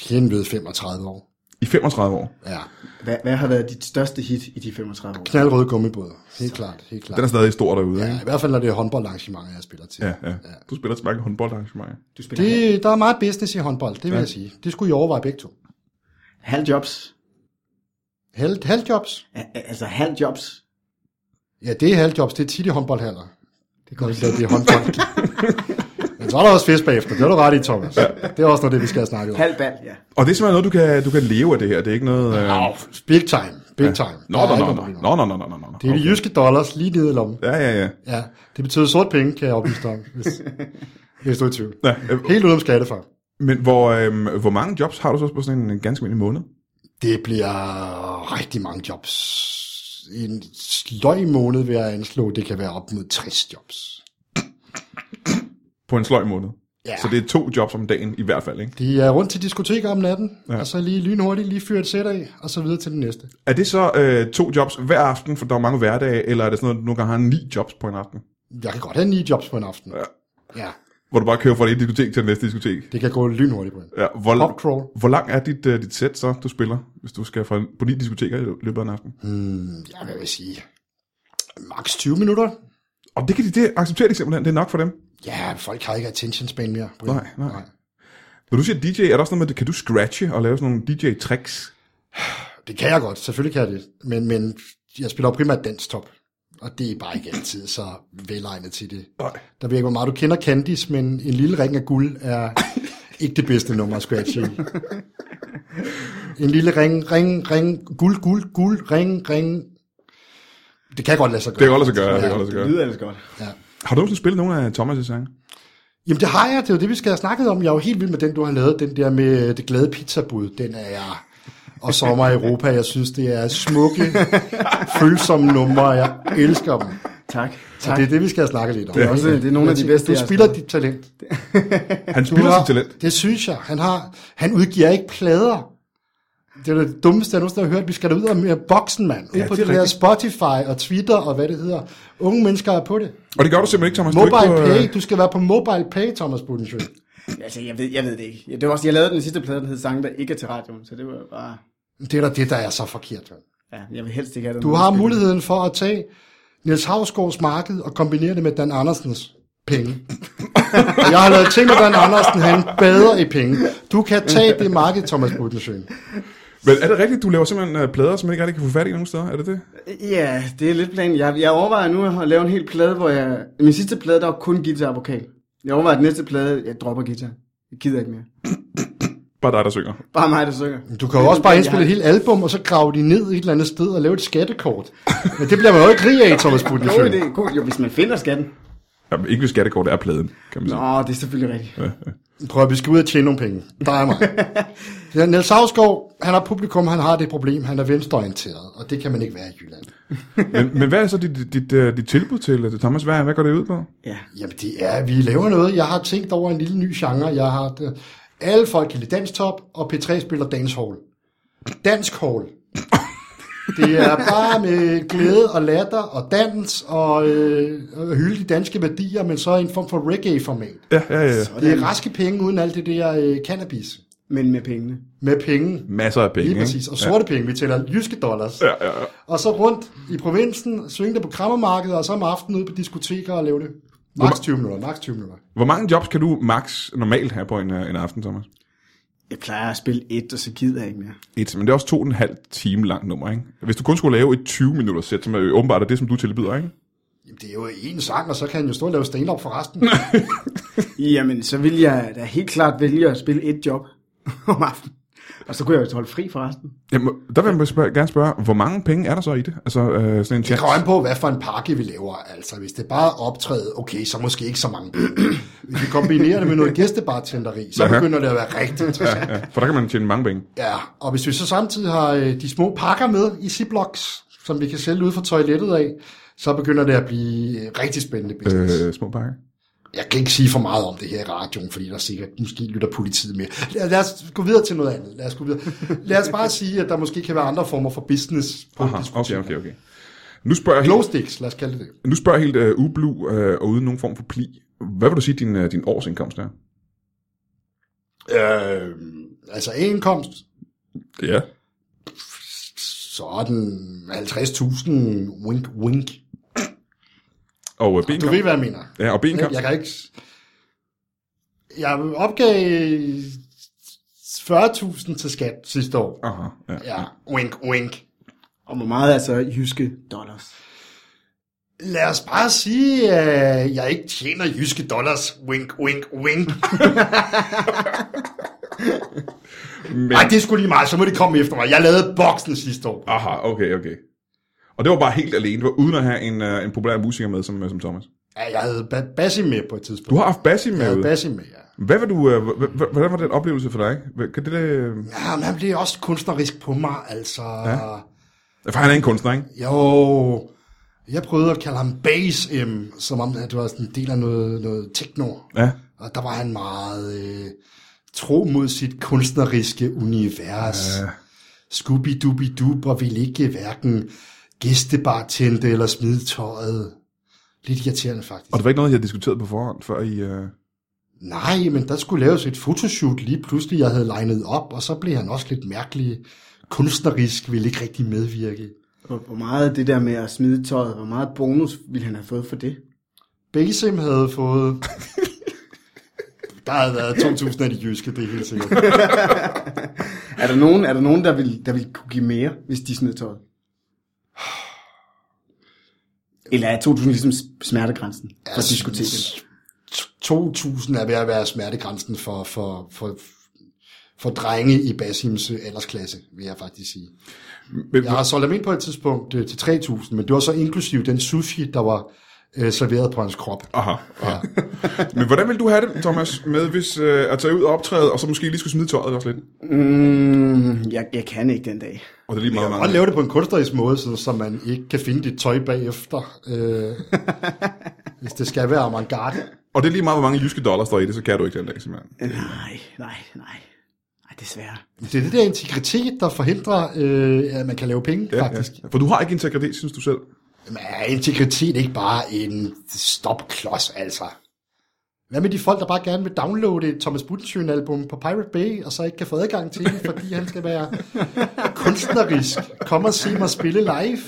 C: hen ved 35 år.
A: I 35 år.
C: Ja,
B: Hvad, hvad har været dit største hit i de 35 år?
C: knaldrøde gummibåde. Helt klart, helt klart.
A: Den er stadig stor derude, ikke?
C: Ja, I hvert fald, når det er håndboldarrangementer, jeg spiller til.
A: Ja, ja. ja. Du spiller til mange håndboldarrangementer.
B: Du spiller det...
C: Det, der er meget business i håndbold, det vil ja. jeg sige. Det skulle I overveje begge to.
B: halv jobs.
C: Halv, halvjobs?
B: Al- Altså halv jobs.
C: Ja, det er halvjobs. Det er tit i håndboldhaller. Det går ikke, det er håndbold. Men så er der også fisk bagefter. Det er du ret i, Thomas. Det er også noget, af det vi skal have snakket om.
B: Halv bal, ja.
A: Og det er simpelthen noget, du kan, du kan leve af det her. Det er ikke noget... Øh...
C: Au, Big time. Big time.
A: Nå,
C: Der er
A: nå, nå,
C: ikke
A: nå,
C: noget problem.
A: nå, nå, nå, nå, nå, nå, nå.
C: Det er de jyske dollars lige nede i lommen.
A: Ja, ja, ja.
C: Ja, det betyder sort penge, kan jeg oplyse dig om, hvis, hvis du er i tvivl.
A: ja øh,
C: Helt uden om skattefar.
A: men hvor, øh, hvor mange jobs har du så på sådan en, en ganske almindelig måned?
C: Det bliver rigtig mange jobs. I en sløj måned vil jeg anslå, det kan være op mod 60 jobs.
A: På en sløj måned.
C: Ja.
A: Så det er to jobs om dagen i hvert fald, ikke?
C: De er rundt til diskoteker om natten, ja. og så lige lynhurtigt lige fyre et sæt af, og så videre til den næste.
A: Er det så øh, to jobs hver aften, for der er mange hverdage, eller er det sådan noget, du nogle gange har ni jobs på en aften?
C: Jeg kan godt have ni jobs på en aften.
A: Ja.
C: ja
A: Hvor du bare kører fra det ene diskotek til det næste diskotek?
C: det kan gå lynhurtigt på en.
A: Ja, hvor,
C: Pop crawl.
A: hvor lang er dit, øh, dit sæt så, du spiller, hvis du skal fra, på ni diskoteker i løbet af en aften?
C: Hmm, Ja, hvad vil jeg sige? Max 20 minutter?
A: Og det kan de det acceptere de simpelthen, det er nok for dem.
C: Ja, folk har ikke attention span mere. Brian.
A: Nej, nej. Når du siger DJ, er der også noget med, kan du scratche og lave sådan nogle DJ-tricks?
C: Det kan jeg godt, selvfølgelig kan jeg det. Men, men jeg spiller jo primært danstop, og det er bare ikke altid så velegnet til det.
A: Nej.
C: Der ved jeg ikke, hvor meget du kender Candice, men en lille ring af guld er ikke det bedste nummer at scratche i. En lille ring, ring, ring, guld, guld, guld, ring, ring. Det kan godt lade sig
A: Det
C: gøre.
A: kan godt lade sig gøre, det kan godt lade sig
B: Det
A: gøre.
B: lyder ellers godt.
C: Ja.
A: Har du nogensinde spillet nogle af Thomas' sange?
C: Jamen det har jeg, det er jo det, vi skal have snakket om. Jeg er jo helt vild med den, du har lavet, den der med øh, det glade pizzabud. Den er jeg. Og Sommer i Europa, jeg synes, det er smukke, følsomme numre, jeg elsker dem.
B: Tak.
C: Så
B: tak.
C: det er det, vi skal have snakket lidt om.
B: Det er også- det er nogle af de bedste,
C: Du
B: jeg har
C: spiller
B: spillet.
C: dit talent.
A: Han
C: Du
A: spiller
C: har-
A: sit talent.
C: Det synes jeg. Han, har, han udgiver ikke plader. Det er det dummeste, jeg nogensinde har hørt. Vi skal da ud og mere boksen, mand. Ud
A: Ja,
C: ja, på
A: det er
C: det her
A: rigtigt.
C: Spotify og Twitter og hvad det hedder. Unge mennesker er på det.
A: Og det gør du simpelthen ikke, Thomas. Du er ikke
C: Mobile
A: på, øh,
C: Pay. Du skal være på Mobile Pay, Thomas Budensjø.
B: Altså, jeg ved, jeg ved det ikke. Ja, det var også, jeg lavede den sidste plade, den hed Sange, der ikke er til radioen, så det var bare...
C: Det er da det, der er så forkert. mand.
B: Ja, jeg vil helst ikke have den.
C: Du har muligheden for at tage Niels Havsgaards marked og kombinere det med Dan Andersens penge. Jeg har lavet ting med Dan Andersen, han bader i penge. Du kan tage det marked, Thomas Budensjø.
A: Men er det rigtigt, du laver simpelthen øh, plader, som man ikke rigtig kan få fat i nogen steder? Er det det?
B: Ja, det er lidt planen. Jeg, jeg overvejer nu at lave en hel plade, hvor jeg... Min sidste plade, der var kun guitar og vokal. Jeg overvejer, at den næste plade, jeg dropper guitar. Jeg gider ikke mere.
A: Bare dig, der synger.
B: Bare mig, der synger.
C: Du kan jo også bare indspille et helt album, og så grave de ned et eller andet sted og lave et skattekort. Men det bliver man jo ikke rig af, Thomas
B: God
C: Budensjø.
B: idé. God. Jo, hvis man finder skatten.
A: Jamen, ikke hvis skattekort er pladen, kan man sige.
B: Nå, det er selvfølgelig rigtigt.
C: Prøv at vi skal ud og tjene nogle penge. Dig og mig. Ja, Niels Havsgaard, han har publikum, han har det problem, han er venstreorienteret, og det kan man ikke være i Jylland.
A: Men, men hvad er så dit, dit, dit, øh, dit tilbud til, øh, til Thomas? Hvad, hvad går det ud på?
B: Ja.
C: Jamen det er, vi laver noget. Jeg har tænkt over en lille ny genre. Jeg har, det, alle folk kan lide danstop, og P3 spiller dancehall. Dansk hall. Det er bare med glæde og latter og dans og øh, og hylde de danske værdier, men så i en form for reggae-format.
A: Ja, ja, ja. ja.
C: Det er raske penge uden alt det der øh, cannabis.
B: Men med pengene.
C: Med penge.
A: Masser af penge,
C: Lige præcis. Og sorte penge. Vi tæller jyske dollars.
A: Ja, ja, ja.
C: Og så rundt i provinsen, synge det på krammermarkedet, og så om aftenen ude på diskoteker og lave det. Max 20 minutter, max 20 minutter.
A: Hvor mange jobs kan du max normalt have på en, øh, en aften, Thomas?
B: Jeg plejer at spille et, og så gider jeg ikke mere.
A: Et, men det er også to og en halv time langt nummer, ikke? Hvis du kun skulle lave et 20 minutters sæt, som er jo åbenbart er det, som du tilbyder, ikke?
C: Jamen, det er jo én sang, og så kan han jo stå og lave stand-up for resten.
B: Jamen, så vil jeg da helt klart vælge at spille et job om aftenen. Og så kunne jeg jo holde fri fra resten.
A: Jamen, der vil jeg spørge, gerne spørge, hvor mange penge er der så i det? Altså, øh, sådan en
C: Det
A: chance.
C: kommer an på, hvad for en pakke vi laver. Altså, hvis det bare er optræde, okay, så måske ikke så mange penge. Hvis vi kombinerer det med noget gæstebartenderi, så
A: Aha.
C: begynder det at være rigtig interessant.
A: Ja, for der kan man tjene mange penge.
C: Ja, og hvis vi så samtidig har øh, de små pakker med i Ziplocs, som vi kan sælge ud fra toilettet af, så begynder det at blive øh, rigtig spændende business. Øh.
A: Øh, små pakker.
C: Jeg kan ikke sige for meget om det her i radioen, fordi der sikkert måske lytter politiet med. Lad, lad os gå videre til noget andet. Lad os, gå videre. lad os bare sige, at der måske kan være andre former for business på
A: Aha,
C: diskoteker.
A: okay, okay, okay. Nu spørger jeg helt,
C: Glowsticks, lad os kalde det det.
A: nu spørger jeg helt øh, ublu øh, og uden nogen form for pli. Hvad vil du sige, din, øh, din årsindkomst er?
C: Øh, altså indkomst,
A: Ja.
C: så er den 50.000 wink wink.
A: Og øh,
C: Du
A: benkomst?
C: ved, hvad jeg mener.
A: Ja, og benkomst?
C: Jeg kan ikke... Jeg opgav 40.000 til skat sidste år.
A: Aha, ja.
C: Ja, wink wink.
B: Og hvor meget er så jyske dollars?
C: Lad os bare sige, at jeg ikke tjener jyske dollars. Wink, wink, wink.
A: Men,
C: Nej, det er sgu lige meget. Så må de komme efter mig. Jeg lavede boksen sidste år.
A: aha, okay, okay. Og det var bare helt alene. Det var uden at have en, øh, en populær musiker med, som, øh, som Thomas.
C: Ja, jeg havde ba- Bassi med på et tidspunkt.
A: Du har haft Bassi med
C: Jeg havde
A: ude.
C: Bassi med, ja.
A: Hvad var du, øh, h- h- hvordan var den oplevelse for dig? Hvad- Kan det, øh...
C: Ja, men han blev også kunstnerisk på mig, altså. Ja.
A: For han er en kunstner, ikke?
C: Jo, jeg prøvede at kalde ham Bass M, som om at det var sådan en del af noget, noget techno.
A: Ja.
C: Og der var han meget øh, tro mod sit kunstneriske univers.
A: Øh.
C: Ja. scooby dooby doob og ville ikke hverken gæstebartente eller smide tøjet. Lidt irriterende faktisk.
A: Og det var ikke noget, jeg havde diskuteret på forhånd, før I... Øh...
C: Nej, men der skulle laves et fotoshoot lige pludselig, jeg havde legnet op, og så blev han også lidt mærkelig kunstnerisk, ville ikke rigtig medvirke.
B: Og hvor meget det der med at smide tøjet, hvor meget bonus ville han have fået for det?
C: Basim havde fået... Der havde været 2.000 af de jyske, det er helt sikkert.
B: Er der nogen, er der, nogen der, vil, der vil kunne give mere, hvis de smed tøjet? Eller er 2000 ligesom smertegrænsen for diskoteket?
C: 2.000 er ved at være smertegrænsen for, for, for for drenge i Basims øh, aldersklasse, vil jeg faktisk sige.
A: Men,
C: Jeg har solgt ham ind på et tidspunkt øh, til 3.000, men det var så inklusiv den sushi, der var øh, serveret på hans krop.
A: aha, aha. men hvordan vil du have det, Thomas, med hvis øh, at tage ud og optræde, og så måske lige skulle smide tøjet også lidt?
B: Mm, jeg, jeg kan ikke den dag.
A: Og det er lige meget,
C: Og
A: meget.
C: lave det på en kunstnerisk måde, sådan, så man ikke kan finde dit tøj bagefter. Øh, hvis det skal være avantgarde.
A: Og det er lige meget, hvor mange jyske dollars der er i det, så kan du ikke den dag, simpelthen.
B: Nej, nej, nej. Nej, desværre.
C: Det er det der integritet, der forhindrer, øh, at man kan lave penge, ja, faktisk. Ja.
A: Ja. For du har ikke integritet, synes du selv.
C: Men er integritet ikke bare en stopklods, altså? Hvad med de folk, der bare gerne vil downloade et Thomas Budensjøen-album på Pirate Bay, og så ikke kan få adgang til det, fordi han skal være kunstnerisk? Kom og se mig spille live.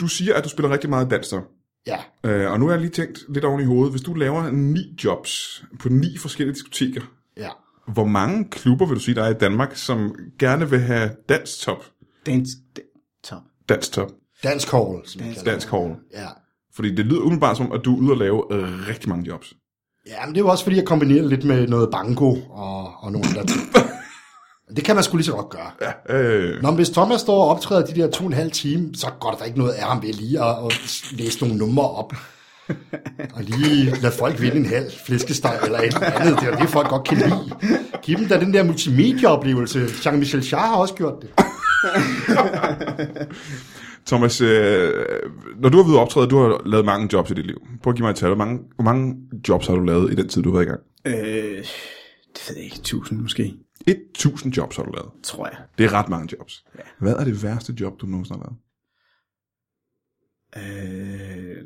A: Du siger, at du spiller rigtig meget dans, så.
C: Ja,
A: Øh, og nu har jeg lige tænkt lidt oven i hovedet. Hvis du laver ni jobs på ni forskellige diskoteker,
C: ja.
A: hvor mange klubber vil du sige, der er i Danmark, som gerne vil have danstop?
B: Dans, dan, top.
A: Danstop.
C: Dansk Hall, som vi
B: Dansk-
C: kalder det.
A: Dansk hall.
C: Ja.
A: Fordi det lyder umiddelbart som, at du er ude og lave øh, rigtig mange jobs.
C: ja, men det er jo også, fordi jeg kombinerer det lidt med noget banko og, og nogle andre ting. Det kan man sgu lige så godt gøre.
A: Øh,
C: Nå, men hvis Thomas står og optræder de der to og en halv time, så går der ikke noget af ham ved lige at, at læse nogle numre op. Og lige lade folk vinde en halv flæskesteg eller et eller andet. Det er jo det, folk godt kan lide. Giv dem da den der multimedieoplevelse. Jean-Michel Jarre har også gjort det.
A: Thomas, øh, når du har været ude at optræde, du har lavet mange jobs i dit liv. Prøv at give mig et tal. Hvor mange, hvor mange jobs har du lavet i den tid, du har været i gang?
B: Øh, det ved jeg ikke. Tusind måske,
A: 1000 jobs har du lavet.
B: tror jeg.
A: Det er ret mange jobs.
B: Ja.
A: Hvad er det værste job, du nogensinde har lavet?
B: Øh,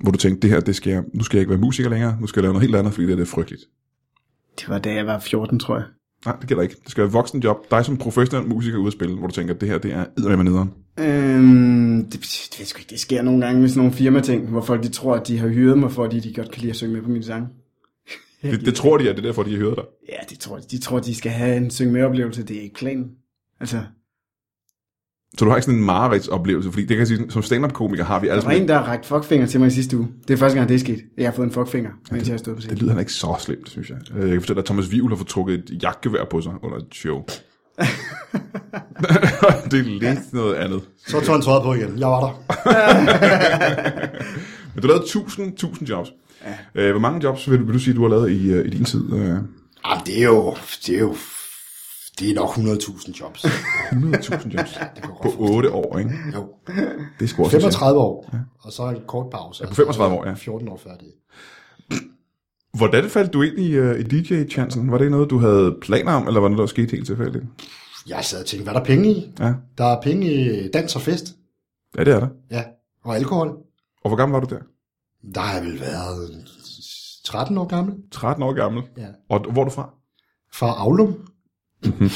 A: Hvor du tænkte, det her, det skal jeg, nu skal jeg ikke være musiker længere, nu skal jeg lave noget helt andet, fordi det, her, det er frygteligt.
B: det var da jeg var 14, tror jeg.
A: Nej, det gælder ikke. Det skal være et voksen job. Dig som professionel musiker ude at spille, hvor du tænker, det her, det er eddermame nederen.
B: Øhm, det, det, ved jeg sgu ikke. det sker nogle gange med sådan nogle firmating, hvor folk de tror, at de har hyret mig, fordi de godt kan lide at synge med på mine sange.
A: Det, det, tror de, at det er derfor, de har hørt dig.
B: Ja, det tror de. De tror, de skal have en synge med oplevelse. Det er ikke planen. Altså,
A: Så du har ikke sådan en mareridtsoplevelse, fordi det kan jeg sige, som stand-up-komiker har vi alle
B: der var
A: sådan
B: en, der har rækket fuckfinger til mig i sidste uge. Det er første gang, det er sket. Jeg har fået en fuckfinger, mens jeg har stået på
A: Det
B: scenen.
A: lyder han ikke så slemt, synes jeg. Øh, Jeg kan fortælle, at Thomas Vivl har fået trukket et jagtgevær på sig under et show. det er lidt noget andet.
C: Så tog han tøjet på igen. Jeg var der.
A: Men du har lavet 1000, 1000 jobs. Ja. Øh, Hvor mange jobs vil du, vil du sige, du har lavet i, øh, i din tid? Øh,
C: Jamen, det er jo... Det er jo det er nok 100.000 jobs.
A: 100.000 jobs på 8 år, ikke?
C: Jo.
A: Det er sgu også en ting.
C: 35 år, og så en kort pause. Ja,
A: på 35 år, ja.
C: 14 år før det.
A: Hvordan faldt du ind i, øh, i DJ-chancen? Var det noget, du havde planer om, eller var det noget, der skete helt tilfældigt?
C: Jeg sad og tænkte, hvad er der penge i?
A: Ja,
C: Der er penge i dans og fest.
A: ja det er der.
C: Ja, og alkohol.
A: Og hvor gammel var du der?
C: Der har jeg vel været 13 år gammel.
A: 13 år gammel.
C: Ja.
A: Og d- hvor er du fra?
C: Fra Aulum.
A: Mhm.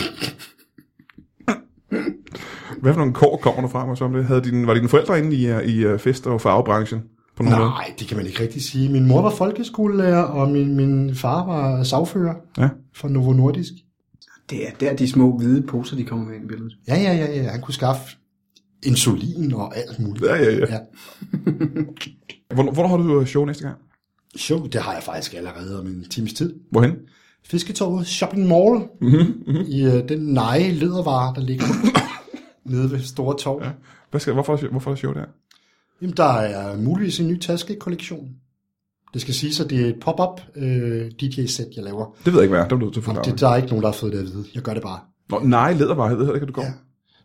A: Hvad for nogle kår kommer du fra, mig som det? Havde din, var dine forældre inde i, øh, i øh, fest- og farvebranchen? På nogen måde?
C: Nej, det kan man ikke rigtig sige. Min mor var folkeskolelærer, og min, min far var sagfører
A: Ja.
C: for Novo Nordisk.
B: Det er der, de små hvide poser, de kommer med ind i billedet.
C: Ja, ja, ja, ja. Han kunne skaffe insulin og alt muligt.
A: Ja, ja, ja.
C: ja.
A: Hvor, hvor har du øh, show næste gang?
C: Sjov, det har jeg faktisk allerede om en times tid.
A: Hvorhen?
C: Fisketorvet Shopping Mall mm-hmm. i uh, den neje ledervare, der ligger nede ved Store Torv. Ja.
A: Hvad skal, hvorfor, er der- hvorfor er der show der?
C: Jamen, der er muligvis en ny taskekollektion. Det skal siges, at det er et pop-up øh, DJ-sæt, jeg laver.
A: Det ved jeg ikke, hvad er. Det er du nødt til at
C: Jamen,
A: forklare.
C: det, der er ikke nogen, der har fået det at vide. Jeg gør det bare.
A: Nå, nej, ledervare hedder det ikke, at du går. Ja.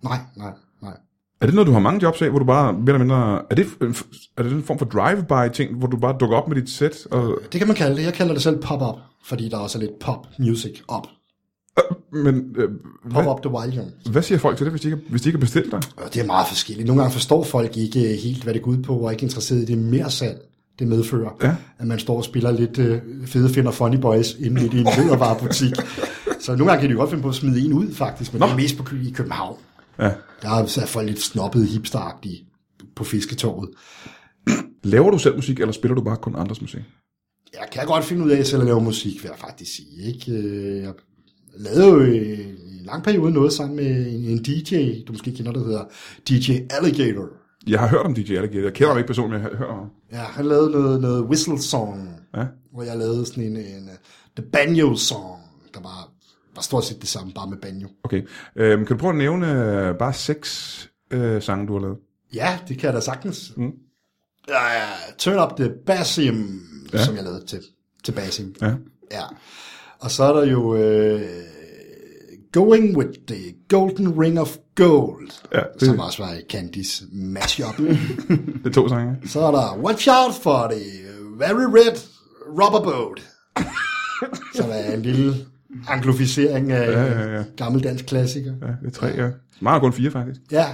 C: Ja. Nej, nej, nej.
A: Er det noget, du har mange jobs af, hvor du bare mere eller mindre... Er det, en f- er det en form for drive-by-ting, hvor du bare dukker op med dit sæt? Og,
C: Det kan man kalde det. Jeg kalder det selv pop-up, fordi der også er lidt pop-music op.
A: men øh, hvad,
C: Pop-up the wild young.
A: hvad, siger folk til det, hvis de ikke, hvis de ikke har bestilt dig?
C: Og det er meget forskelligt. Nogle gange forstår folk ikke øh, helt, hvad det går ud på, og er ikke interesseret i det mere salg, det medfører.
A: Ja.
C: At man står og spiller lidt øh, fede finder funny boys inde midt i en ledervarebutik. Så nogle gange kan de jo godt finde på at smide en ud, faktisk. Men Nå. det er mest på Kø- i København.
A: Ja.
C: Der er så er folk lidt snobbede, hipsteragtige på fisketorvet.
A: Laver du selv musik, eller spiller du bare kun andres musik?
C: Jeg kan godt finde ud af selv at lave musik, vil jeg faktisk sige. Ikke? Øh, Jeg lavede jo øh, i en lang periode noget sammen med en en DJ, du måske kender, der hedder DJ Alligator.
A: Jeg har hørt om DJ Alligator. Jeg kender ham ikke personligt, men jeg har hørt om ham.
C: Ja, han lavede noget, noget whistle song,
A: Ja.
C: øh, hvor jeg lavede sådan en, en uh, the banjo song, der var var stort set det samme, bare med banjo.
A: Okay. Øhm, kan du prøve at nævne øh, bare seks øh, sange, du har lavet?
C: Ja, det kan jeg da sagtens.
A: Mm.
C: Ja, ja, Turn Up the Basim, ja. som jeg lavede til, til Basim.
A: Ja.
C: ja. Og så er der jo øh, Going with the Golden Ring of Gold,
A: Ja, det-
C: som også var i Candys mashup.
A: Det er to sange.
C: så er der Watch Out for the Very Red Rubber Boat, som er en lille anglificering af ja,
A: ja, ja.
C: gammel dansk klassiker.
A: Ja, det er tre, ja. Meget kun fire, faktisk.
C: Ja,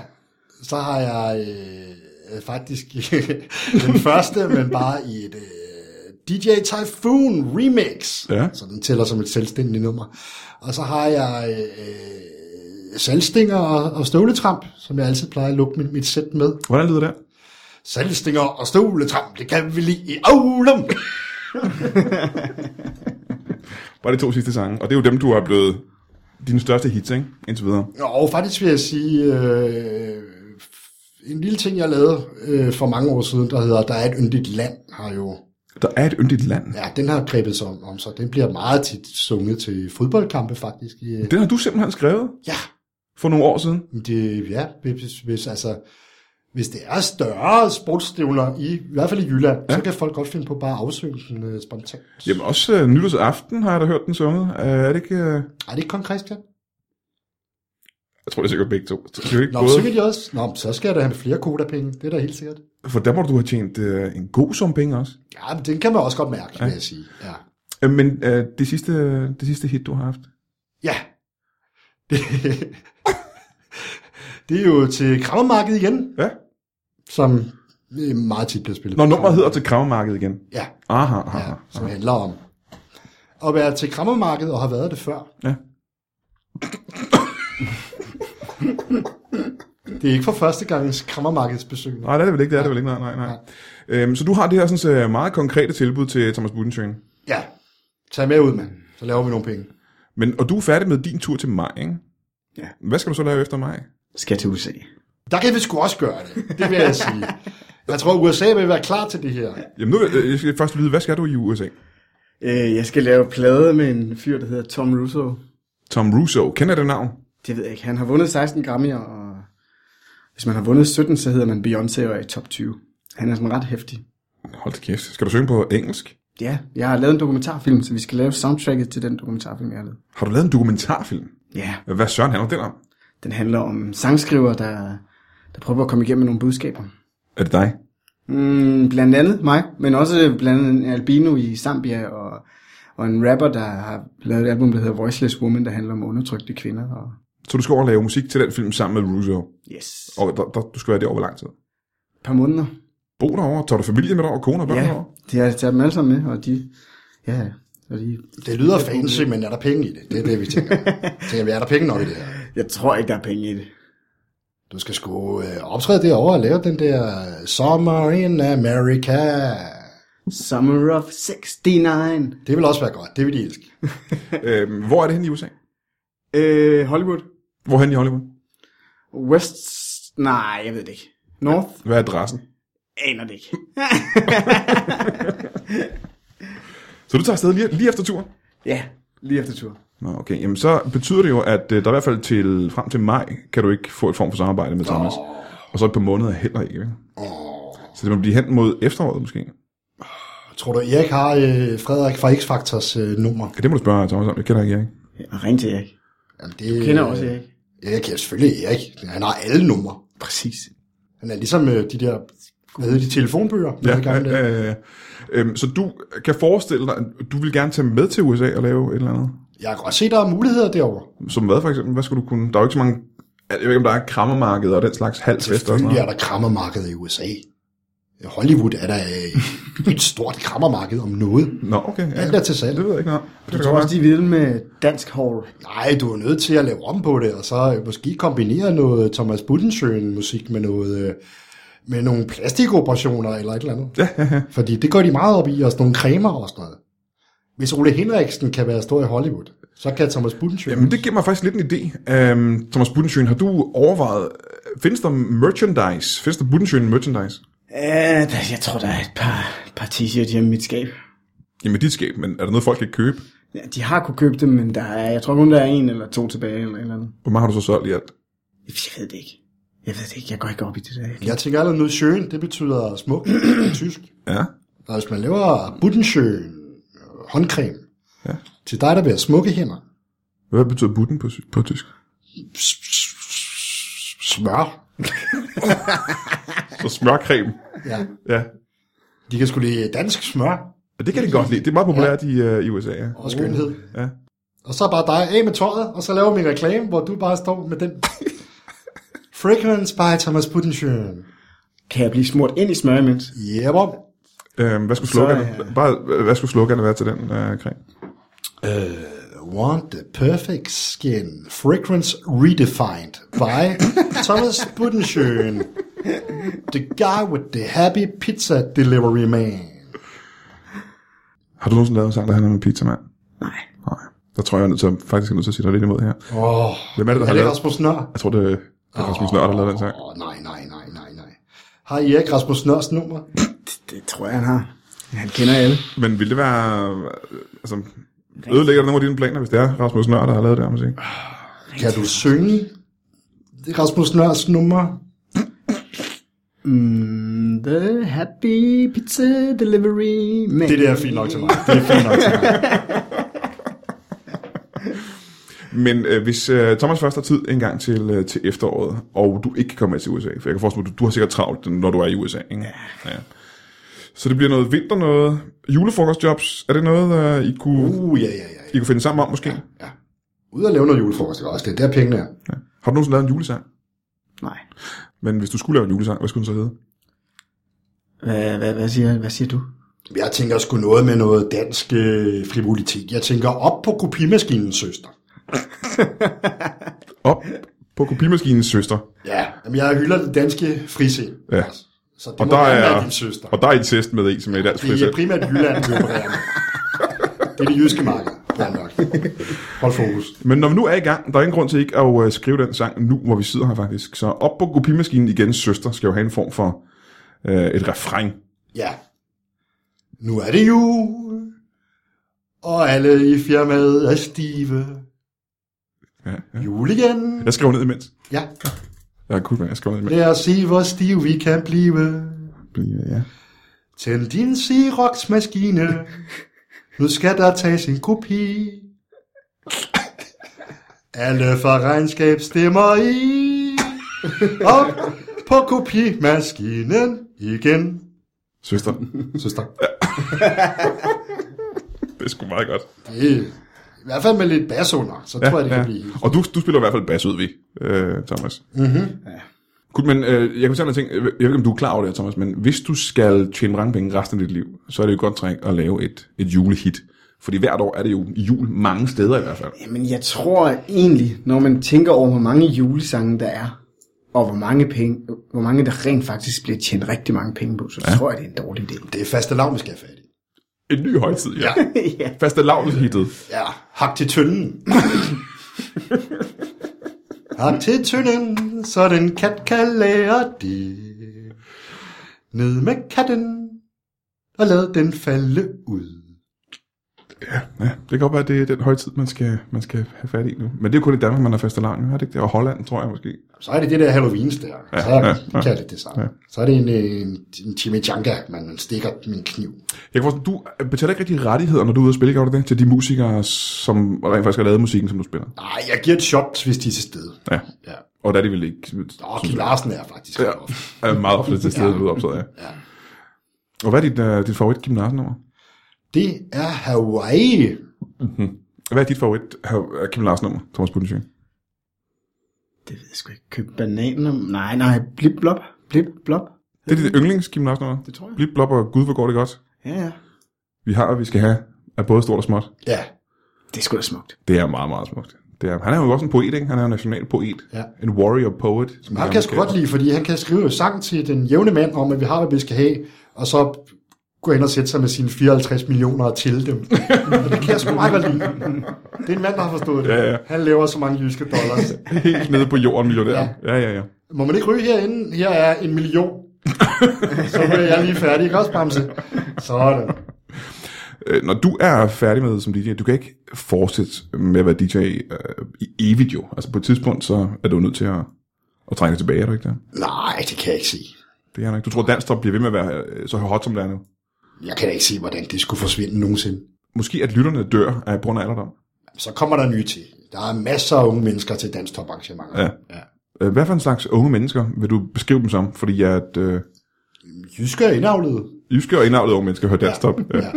C: så har jeg øh, øh, faktisk den første, men bare i et øh, DJ Typhoon remix.
A: Ja.
C: Så den tæller som et selvstændigt nummer. Og så har jeg øh, salgstinger og, og støvletramp, som jeg altid plejer at lukke mit, mit sæt med.
A: Hvordan lyder det?
C: Salgstinger og støvletramp, det kan vi lige i Aulum.
A: Bare de to sidste sange. Og det er jo dem, du er blevet dine største hits, ikke? Indtil videre.
C: Og faktisk vil jeg sige, øh, en lille ting, jeg lavede øh, for mange år siden, der hedder, der er et yndigt land, har jo
A: Der er et yndigt land. Ja.
C: Ja, den har grebet sig om, om sig. Den bliver meget tit sunget til fodboldkampe, faktisk. I, øh,
A: Den har du simpelthen skrevet
C: Ja,
A: for nogle år siden.
C: men det, ja hvis, hvis, altså, hvis det er større sportsstævner, i, i hvert fald i Jylland, ja. så kan folk godt finde på bare at afsøge den øh, spontant.
A: Jamen også øh, nytårsaften har jeg da hørt den sunget. Øh, er det ikke... Øh...
C: Er det ikke kong Christian?
A: Jeg tror, det er sikkert begge to. Så kan vi ikke
C: Nå,
A: både...
C: synger de også? Nå, men så skal jeg da have flere kodapenge. Det er da helt sikkert.
A: For der må du have tjent øh, en god sum penge også.
C: Ja, men den kan man også godt mærke, ja. vil jeg sige. Ja.
A: Øh, men øh, det, sidste, det sidste hit, du har haft.
C: Ja. Det, det er jo til krammermarkedet igen,
A: Ja.
C: som øh, meget tit bliver spillet.
A: Når nummeret hedder til kravmarkedet igen.
C: Ja,
A: Aha, aha.
C: ja,
A: Ja.
C: som handler om at være til krammermarkedet og har været det før.
A: ja.
C: Det er ikke for første gangs krammermarkedsbesøg.
A: Nej, det er det vel ikke. Det er det vel ikke. Nej, nej, nej. Øhm, så du har det her sådan, så meget konkrete tilbud til Thomas Budensjøen.
C: Ja, tag med ud, mand. Så laver vi nogle penge.
A: Men, og du er færdig med din tur til maj, ikke?
B: Ja.
A: Hvad skal du så lave efter maj?
B: Skal til USA.
C: Der kan vi sgu også gøre det, det vil jeg sige. Jeg tror, USA vil være klar til det her.
A: Jamen nu øh, jeg skal jeg først vide, hvad skal du i USA?
B: Øh, jeg skal lave plade med en fyr, der hedder Tom Russo.
A: Tom Russo. Kender det navn?
B: Det ved jeg ikke. Han har vundet 16 Grammy'er, og hvis man har vundet 17, så hedder man Beyoncé og er i top 20. Han er sådan ret hæftig.
A: Hold da kæft. Skal du synge på engelsk?
B: Ja, jeg har lavet en dokumentarfilm, så vi skal lave soundtracket til den dokumentarfilm, jeg har lavet.
A: Har du lavet en dokumentarfilm?
B: Ja,
A: Hvad søren handler den om?
B: den handler om sangskriver, der, der prøver at komme igennem med nogle budskaber.
A: Er det dig?
B: Mm, blandt andet mig, men også blandt andet en albino i Zambia, og, og en rapper, der har lavet et album, der hedder Voiceless Woman, der handler om undertrykte kvinder. Og...
A: Så du skal over og lave musik til den film sammen med Russo.
B: Yes.
A: Og der, der, du skal være derovre hvor lang tid?
B: Et par måneder.
A: Bo derovre? Tager du familie med dig og kone og børn
B: Ja,
A: derovre?
B: de har taget dem alle sammen med, og de... Ja, og de...
C: Det lyder fancy, men er der penge i det? Det er det, vi tænker. tænker vi, er der penge nok i det her?
B: Jeg tror ikke, der er penge i det.
C: Du skal sgu øh, optræde derovre og lave den der øh, Summer in America.
B: Summer of 69.
C: Det vil også være godt. Det vil de elske.
A: Øhm, hvor er det henne i USA?
B: Øh, Hollywood.
A: Hvor hen i Hollywood?
B: West... Nej, jeg ved det ikke. North?
A: Hvad er adressen?
B: Aner det ikke.
A: Så du tager afsted lige, lige efter turen?
B: Ja, lige efter tur.
A: Nå, okay. Jamen, så betyder det jo, at øh, der i hvert fald til, frem til maj, kan du ikke få et form for samarbejde med Thomas. Og så et par måneder heller ikke. vel? Så det må blive hen mod efteråret, måske.
C: Tror du, Erik har øh, Frederik fra X-Factors øh, nummer?
A: Ja, det må du spørge Thomas om. Jeg kender ikke Erik.
B: Ja, og ring til Erik.
C: Jamen, det,
B: Kender også Erik.
C: Erik, ja, selvfølgelig Erik. Han har alle numre.
B: Præcis.
C: Han er ligesom øh, de der, hvad hedder de, telefonbøger? man havde i gamle dage.
A: ja, ja. Øhm, så du kan forestille dig, at du vil gerne tage med til USA og lave et eller andet.
C: Jeg kan godt se, der er muligheder derovre.
A: Som hvad for eksempel? Hvad skulle du kunne? Der er jo ikke så mange... Jeg ved ikke, om der er krammermarked og den slags halvfest og sådan
C: Altså, Selvfølgelig er
A: noget.
C: der krammermarked i USA. Hollywood er der øh, et stort krammermarked om noget.
A: Nå, okay. Ja,
C: Alt er til salg.
A: Det ved jeg ikke noget. om. Det kan
B: Jeg tror
A: godt
B: også, de er vilde med dansk hall.
C: Nej, du er nødt til at lave om på det, og så øh, måske kombinere noget Thomas Budensjøen musik med noget øh, med nogle plastikoperationer eller et eller andet.
A: være. Ja, ja, ja.
C: Fordi det går de meget op i, og sådan nogle cremer og sådan noget. Hvis Ole Henriksen kan være stor i Hollywood, så kan Thomas Budensjøen.
A: Jamen, det giver mig faktisk lidt en idé. Øhm, Thomas Budensjøen, har du overvejet, øh, findes der merchandise? Findes der Budensjøen merchandise?
B: Øh, der- jeg tror, der er et par, par t-shirts hjemme i mit skab.
A: Jamen, dit skab, men er der noget, folk kan købe?
B: Ja, de har kunne købe dem, men der er, jeg tror kun, der er en eller to tilbage eller et eller andet.
A: Hvor meget har du så solgt i alt?
B: Jeg ved det ikke. Jeg ved det ikke. Jeg går ikke op i det der.
C: Jeg tænker allerede noget schön, det betyder smuk i tysk.
A: Ja.
C: Og hvis man laver buttenschön, øh, håndcreme,
A: Ja.
C: ja. til dig, der vil have smukke hænder,
A: Hvad betyder butten på, sy- på tysk?
C: smør.
A: Så smørcreme.
C: Ja.
A: Ja.
C: De kan sgu lide dansk smør
A: Og det kan de godt lide. Det er meget populært ja. i, øh, i USA. Ja.
C: og skønhed.
A: ja.
C: Og så er bare dig af med tøjet, og så laver vi en reklame, hvor du bare står med den. Fragrance by Thomas Buttenschøn.
B: Kan jeg blive smurt ind i smør imens?
C: Jebber.
A: Øhm, hvad skulle slukkerne,
B: Så,
A: bare, øh, hvad skulle slukkerne være til den øh, creme?
C: Øh, Want the perfect skin. Fragrance redefined by Thomas Buttenschøn. The guy with the happy pizza delivery man.
A: Har du nogensinde lavet en sang, der handler om en pizzamand?
B: Nej.
A: Nej. Der tror jeg, jeg er nødt til, at- faktisk er nødt til at sige dig lidt imod her.
C: Åh, oh,
A: Hvem er det, der har
C: er det
A: lavet?
C: Rasmus Nør?
A: Jeg tror, det er det er Rasmus Nørd, der lavede den sang.
C: Åh, oh, nej, nej, nej, nej, nej. Har I ikke Rasmus Nørs nummer?
B: Det, det tror jeg, han har. Han kender alle.
A: Men ville det være... øh, Altså, ødelægger det nogle af dine planer, hvis det er Rasmus Nørd, der har lavet det her musik?
C: Kan du synge Rasmus Nørs nummer?
B: Mm, the happy pizza delivery man.
C: Det der er fint nok til mig. Det er fint nok til mig.
A: Men øh, hvis øh, Thomas først har tid en gang til, øh, til efteråret, og du ikke kan komme med til USA, for jeg kan forestille mig, du, du har sikkert travlt, når du er i USA, ikke? Ja. ja. Så det bliver noget vinter noget. Julefrokostjobs, er det noget, øh, I, kunne, uh.
C: Uh, ja, ja, ja.
A: I kunne finde sammen om måske? Ja.
C: ja. Ud og lave noget julefrokost, det er også det er der pengene er.
A: Har du nogensinde lavet en julesang?
B: Nej.
A: Men hvis du skulle lave en julesang, hvad skulle den så hedde?
B: Hvad, hvad, hvad, siger, hvad siger du?
C: Jeg tænker sgu noget med noget dansk øh, frivolitet. Jeg tænker op på kopimaskinen, søster.
A: Op på kopimaskinens søster.
C: Ja, jamen, jeg hylder det danske frisind.
A: Ja.
C: Så det
A: Og
C: må
A: der
C: gerne
A: er,
C: være din søster.
A: og der er incest med i, som er i dansk
C: Det er
A: frisæt.
C: primært Jylland, vi opererer med. Det er det jyske marked, blandt nok. Hold fokus.
A: Men når vi nu er i gang, der er ingen grund til ikke at øh, skrive den sang nu, hvor vi sidder her faktisk. Så op på kopimaskinen igen, søster, skal jo have en form for øh, et refræng.
C: Ja. Nu er det jul, og alle i firmaet er stive.
A: Ja, ja.
C: Jul igen.
A: Jeg skriver ned imens.
C: Ja.
A: Ja, cool, man. Jeg skriver ned imens.
C: Lad os se, hvor stive vi kan blive.
A: Blive- Ja.
C: Tænd din Xerox-maskine. Nu skal der tages en kopi. Alle fra regnskab stemmer i. Op på kopimaskinen igen.
A: Søster.
C: Søster.
A: Det er sgu meget godt.
C: Det er i hvert fald med lidt bas under, så tror jeg, det kan blive. Mhm.
A: Og du, du spiller i hvert fald bas ud, vi, øh, Thomas. Mm-hmm. Ja. Cool, men øh, jeg kan fortælle dig en ting. Jeg ved ikke, om du er klar over det her, Thomas, men hvis du skal tjene mange penge resten af dit liv, så er det jo et godt træk at lave et, et julehit. Fordi hvert år er det jo jul mange steder i hvert fald.
B: Jamen, jeg tror egentlig, når man tænker over, hvor mange julesange der er, og hvor mange, penge, hvor mange der rent faktisk bliver tjent rigtig mange penge på, så ja. tror jeg, det er en dårlig idé.
C: Det er faste lav, vi skal have fat i.
A: En ny højtid, ja. ja.
B: ja.
A: Faste hittet
C: Ja, hak til tynden. hak til tynden, så den kat kan lære det. Ned med katten, og lad den falde ud.
A: Ja, det kan godt være, at det er den højtid, man skal, man skal have fat i nu. Men det er jo kun i Danmark, man har faste lavn, er det ikke det? Og Holland, tror jeg måske.
C: Så er det det der Halloweens der. Så
A: ja,
C: er
A: ja.
C: det, ja, det det samme.
A: Ja.
C: Så er det en, øh, en, en chimichanga, man stikker med en kniv.
A: Jeg kan forstå, du betaler ikke rigtig rettigheder, når du er ude og spille, gør du det? Til de musikere, som rent faktisk har lavet musikken, som du spiller.
C: Nej, jeg giver et shot, hvis de er til stede.
A: Ja.
C: Ja.
A: Og der er de vel ikke...
C: Og Kim Larsen er faktisk
A: Ja,
C: ret ofte.
A: er meget ofte til stede, ude optaget af.
C: Ja.
A: Og hvad er dit, uh, dit favorit Kim Larsen nummer?
C: Det er Hawaii.
A: Hvad er dit favorit uh, Kim Larsen nummer, Thomas Budensjø?
B: Det ved jeg sgu ikke. Købe bananer? Nej, nej. Blip, blop. Blip, blop.
A: Det er dit yndlings Kim Larsen nummer?
B: Det tror jeg.
A: Blip, blop og gud, hvor går det godt.
B: Ja, ja.
A: Vi har, og vi skal have, er både stort og småt.
C: Ja,
B: Det er sgu da smukt.
A: Det er meget, meget smukt. Det er, han er jo også en poet, ikke? Han er en national poet.
C: Ja.
A: En warrior poet. Som
C: Han
A: de
C: kan
A: gamle
C: jeg sgu godt lide, fordi han kan skrive en sang til den jævne mand om, at vi har, hvad vi skal have, og så gå hen og sætte sig med sine 54 millioner og til dem. Og det kan jeg sgu meget godt lide. Det er en mand, der har forstået det.
A: Ja, ja.
C: Han laver så mange jyske dollars.
A: kalder. Helt nede på jorden, millionær. Ja, ja, ja.
C: Må man ikke ryge herinde? Her er en million. så bliver jeg lige færdig. Ikke også, Bamse? Sådan.
A: Øh, Når du er færdig med som DJ, du kan ikke fortsætte med at være DJ øh, i evigt jo. Altså på et tidspunkt, så er du nødt til at, at trække tilbage, er du ikke det?
C: Nej, det kan jeg ikke sige.
A: Det er han ikke. Du tror, Danstrup bliver ved med at være øh, så hot, som det er nu?
C: Jeg kan da ikke se, hvordan det skulle forsvinde nogensinde.
A: Måske at lytterne dør af grund af alderdom.
C: Så kommer der nye til. Der er masser af unge mennesker til dansk toparrangementer.
A: Ja. Øh, Hvad for en slags unge mennesker vil du beskrive dem som? Fordi at øh,
C: Jyske er indavlede.
A: jyske og indavlede unge mennesker hører Danstrup. Ja.
C: Ja.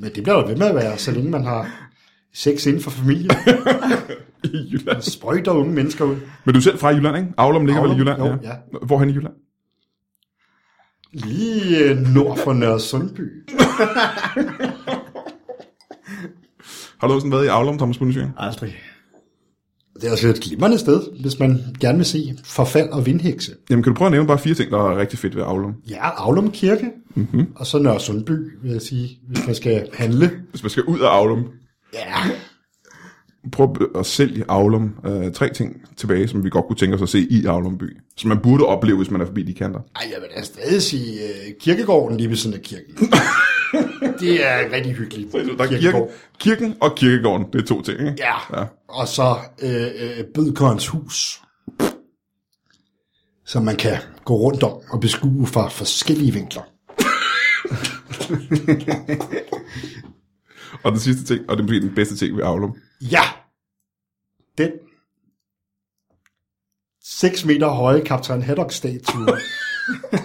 C: Men det bliver jo ved med at være, så længe man har sex inden for familie.
A: I Jylland.
C: Sprøjter unge mennesker ud.
A: Men du er selv fra Jylland, ikke? Aulum ligger vel i
C: Aulum,
A: Jylland?
C: jo,
A: Hvor hen i Jylland?
C: Lige øh, nord for Nørre Sundby.
A: Har du også været i Aulum, Thomas Bundesjøen?
B: Aldrig.
C: Det er altså et glimrende sted, hvis man gerne vil se forfald og vindhekse.
A: Jamen, kan du prøve at nævne bare fire ting, der er rigtig fedt ved Aulum?
C: Ja, Aulum Kirke,
A: Mhm.
C: mm-hmm. og så Nørre Sundby, vil jeg sige, hvis man skal handle.
A: Hvis man skal ud af Aulum,
C: Ja,
A: prøv at- at sælge Aulum øh, tre ting tilbage, som vi godt kunne tænke os at se i Aulum by. Som man burde opleve, hvis man er forbi de kanter.
C: Ej, jeg vil da stadig sige øh, kirkegården lige ved siden af kirken. det er rigtig hyggeligt.
A: Der er kirken, kirken og kirkegården, det er to ting, ikke?
C: Ja.
A: Ja.
C: ja. Og så øh, øh, Bødkorns hus, som man kan gå rundt om og beskue fra forskellige vinkler.
A: Og den sidste ting, og det er måske den bedste ting ved Aulum.
C: Ja! Den 6 meter høje kaptajn Haddock-statue,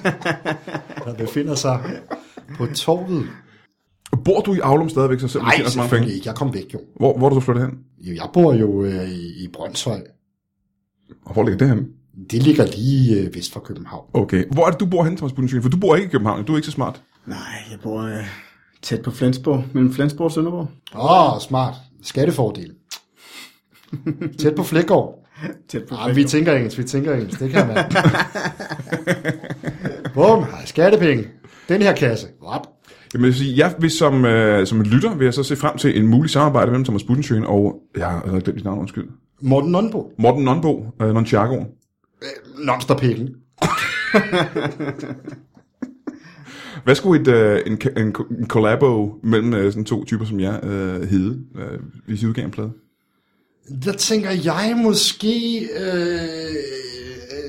C: der befinder sig på torvet.
A: Bor du i Aulum stadigvæk, så selvom du
C: Nej,
A: tjener så mange
C: selvfølgelig
A: penge?
C: ikke. Jeg kom væk jo.
A: Hvor, hvor er du så flyttet hen?
C: Jo, Jeg bor jo øh, i i Brøndshøj.
A: Og hvor ligger det henne?
C: Det ligger lige øh, vest for København.
A: Okay. Hvor er det, du bor henne, Thomas Bundesjøen? For du bor ikke i København, du er ikke så smart.
B: Nej, jeg bor øh, tæt på Flensborg, mellem Flensborg og Sønderborg.
C: Åh, oh, smart. Skattefordel. Tæt på Flækgaard.
B: Tæt på
C: Ah, vi tænker engelsk, vi tænker engelsk. Det kan man. Bum, har skattepenge. Den her kasse. What?
A: Jamen, jeg vil sige, jeg vil som, øh, som en lytter, vil jeg så se frem til en mulig samarbejde mellem Thomas Budensjøen og, jeg har allerede glemt dit navn, undskyld,
C: Morten Nonbo.
A: Morten Nonbo, øh, Nonchago.
C: Nonsterpælen.
A: Hvad skulle et, øh, en, ka- en, ko- en collabo mellem øh, sådan to typer som jer øh, hedde, øh, hvis I udgav en plade?
C: Der tænker jeg måske... Øh, øh,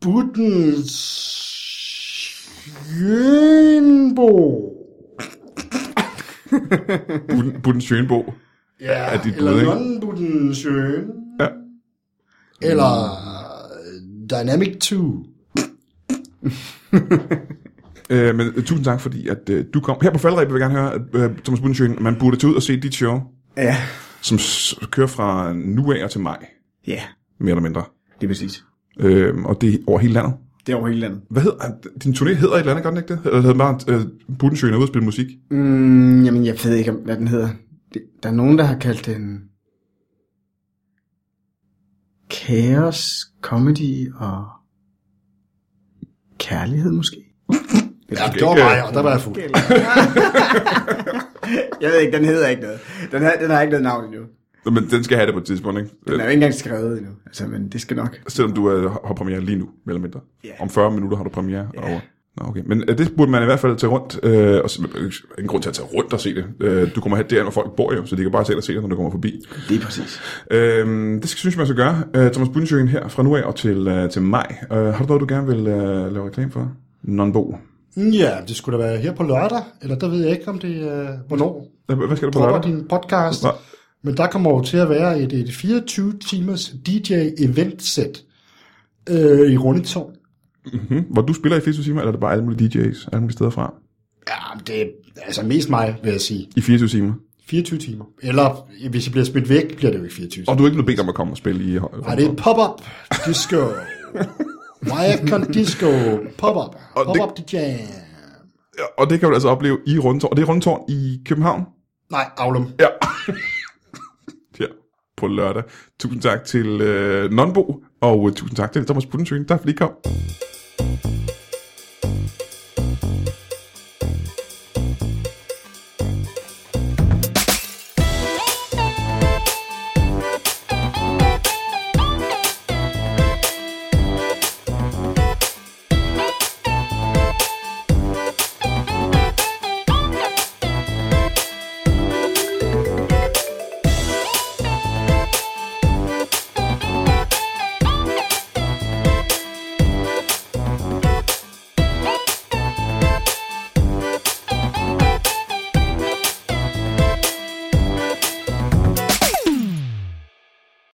C: Buttens... Jønbo.
A: Buden- Budensjøenbo.
C: Ja,
A: Er dit bud,
C: eller
A: ikke?
C: Nonbuttens Jøn.
A: Ja.
C: Eller øh, Dynamic 2.
A: Øh, men øh, tusind tak, fordi at, øh, du kom. Her på Faldrebet vil jeg gerne høre, at, øh, Thomas Budensjøen, man burde tage ud og se dit show,
B: Ja,
A: som s- kører fra nu af og til maj,
B: ja,
A: mere eller mindre.
B: det er præcis.
A: Øh, og det er over hele landet.
B: Det er over hele landet.
A: Hvad hedder, øh, din turné hedder et eller andet, gør den ikke det? Eller hedder den bare øh, Budensjøen er ude og spille musik?
B: Mm, jamen, jeg ved ikke, om- hvad den hedder. Det, der er nogen, der har kaldt den... Chaos, comedy og kærlighed måske.
C: Ja,
A: skal
C: det var
A: ikke,
C: mig, og der var jeg fuld.
B: jeg ved ikke, den hedder ikke noget. Den har, den har ikke noget navn endnu.
A: Nå, Men den skal have det på et tidspunkt, ikke?
B: Den er jo ikke engang skrevet endnu. Altså, men det skal nok.
A: Selvom du øh, har premiere lige nu, mere eller mindre.
B: Ja.
A: Om 40 minutter har du premiere yeah. over. Nå, okay. Men øh, det burde man i hvert fald tage rundt. Øh, og, se- men, øh, ingen grund til at tage rundt og se det. Øh, du kommer hen derhen, hvor folk bor jo, så de kan bare selv se det, når du kommer forbi.
B: Det er præcis.
A: Øh, det skal, synes jeg, man skal gøre. Øh, Thomas Bundensjøen her fra nu af og til, øh, til maj. Øh, har du noget, du gerne vil øh, lave reklame for? Nonbo.
C: Mm, Ja, det skulle da være her på lørdag, eller der ved jeg ikke, om det er, hvornår
A: Øh, Hvad skal du på
C: dropper
A: lørdag?
C: din podcast.
A: Nå.
C: Men der kommer jo til at være et, et 24-timers DJ-event-sæt øh, i Rundetårn.
A: Hmm? Hvor du spiller i 24 timer, eller er det bare alle mulige DJ's, alle mulige steder fra?
C: Ja, men det er altså mest mig, vil jeg sige.
A: I 24 timer.
C: 24 timer. Eller hvis jeg bliver smidt væk, bliver det jo ikke 24 timer.
A: Og du er ikke blevet bedt om at komme og spille i...
C: Nej, det er et pop-up disco. Viacon Disco pop-up.
A: Og det-
C: Pop-up DJ.
A: Og det kan du altså opleve i Rundetårn. Og det er Rundetårn i København.
C: Nej, Aulum.
A: Ja. Her på lørdag. Tusind tak til øh, Nonbo, og øh, tusind tak til Thomas Budensøen. Tak fordi I kom.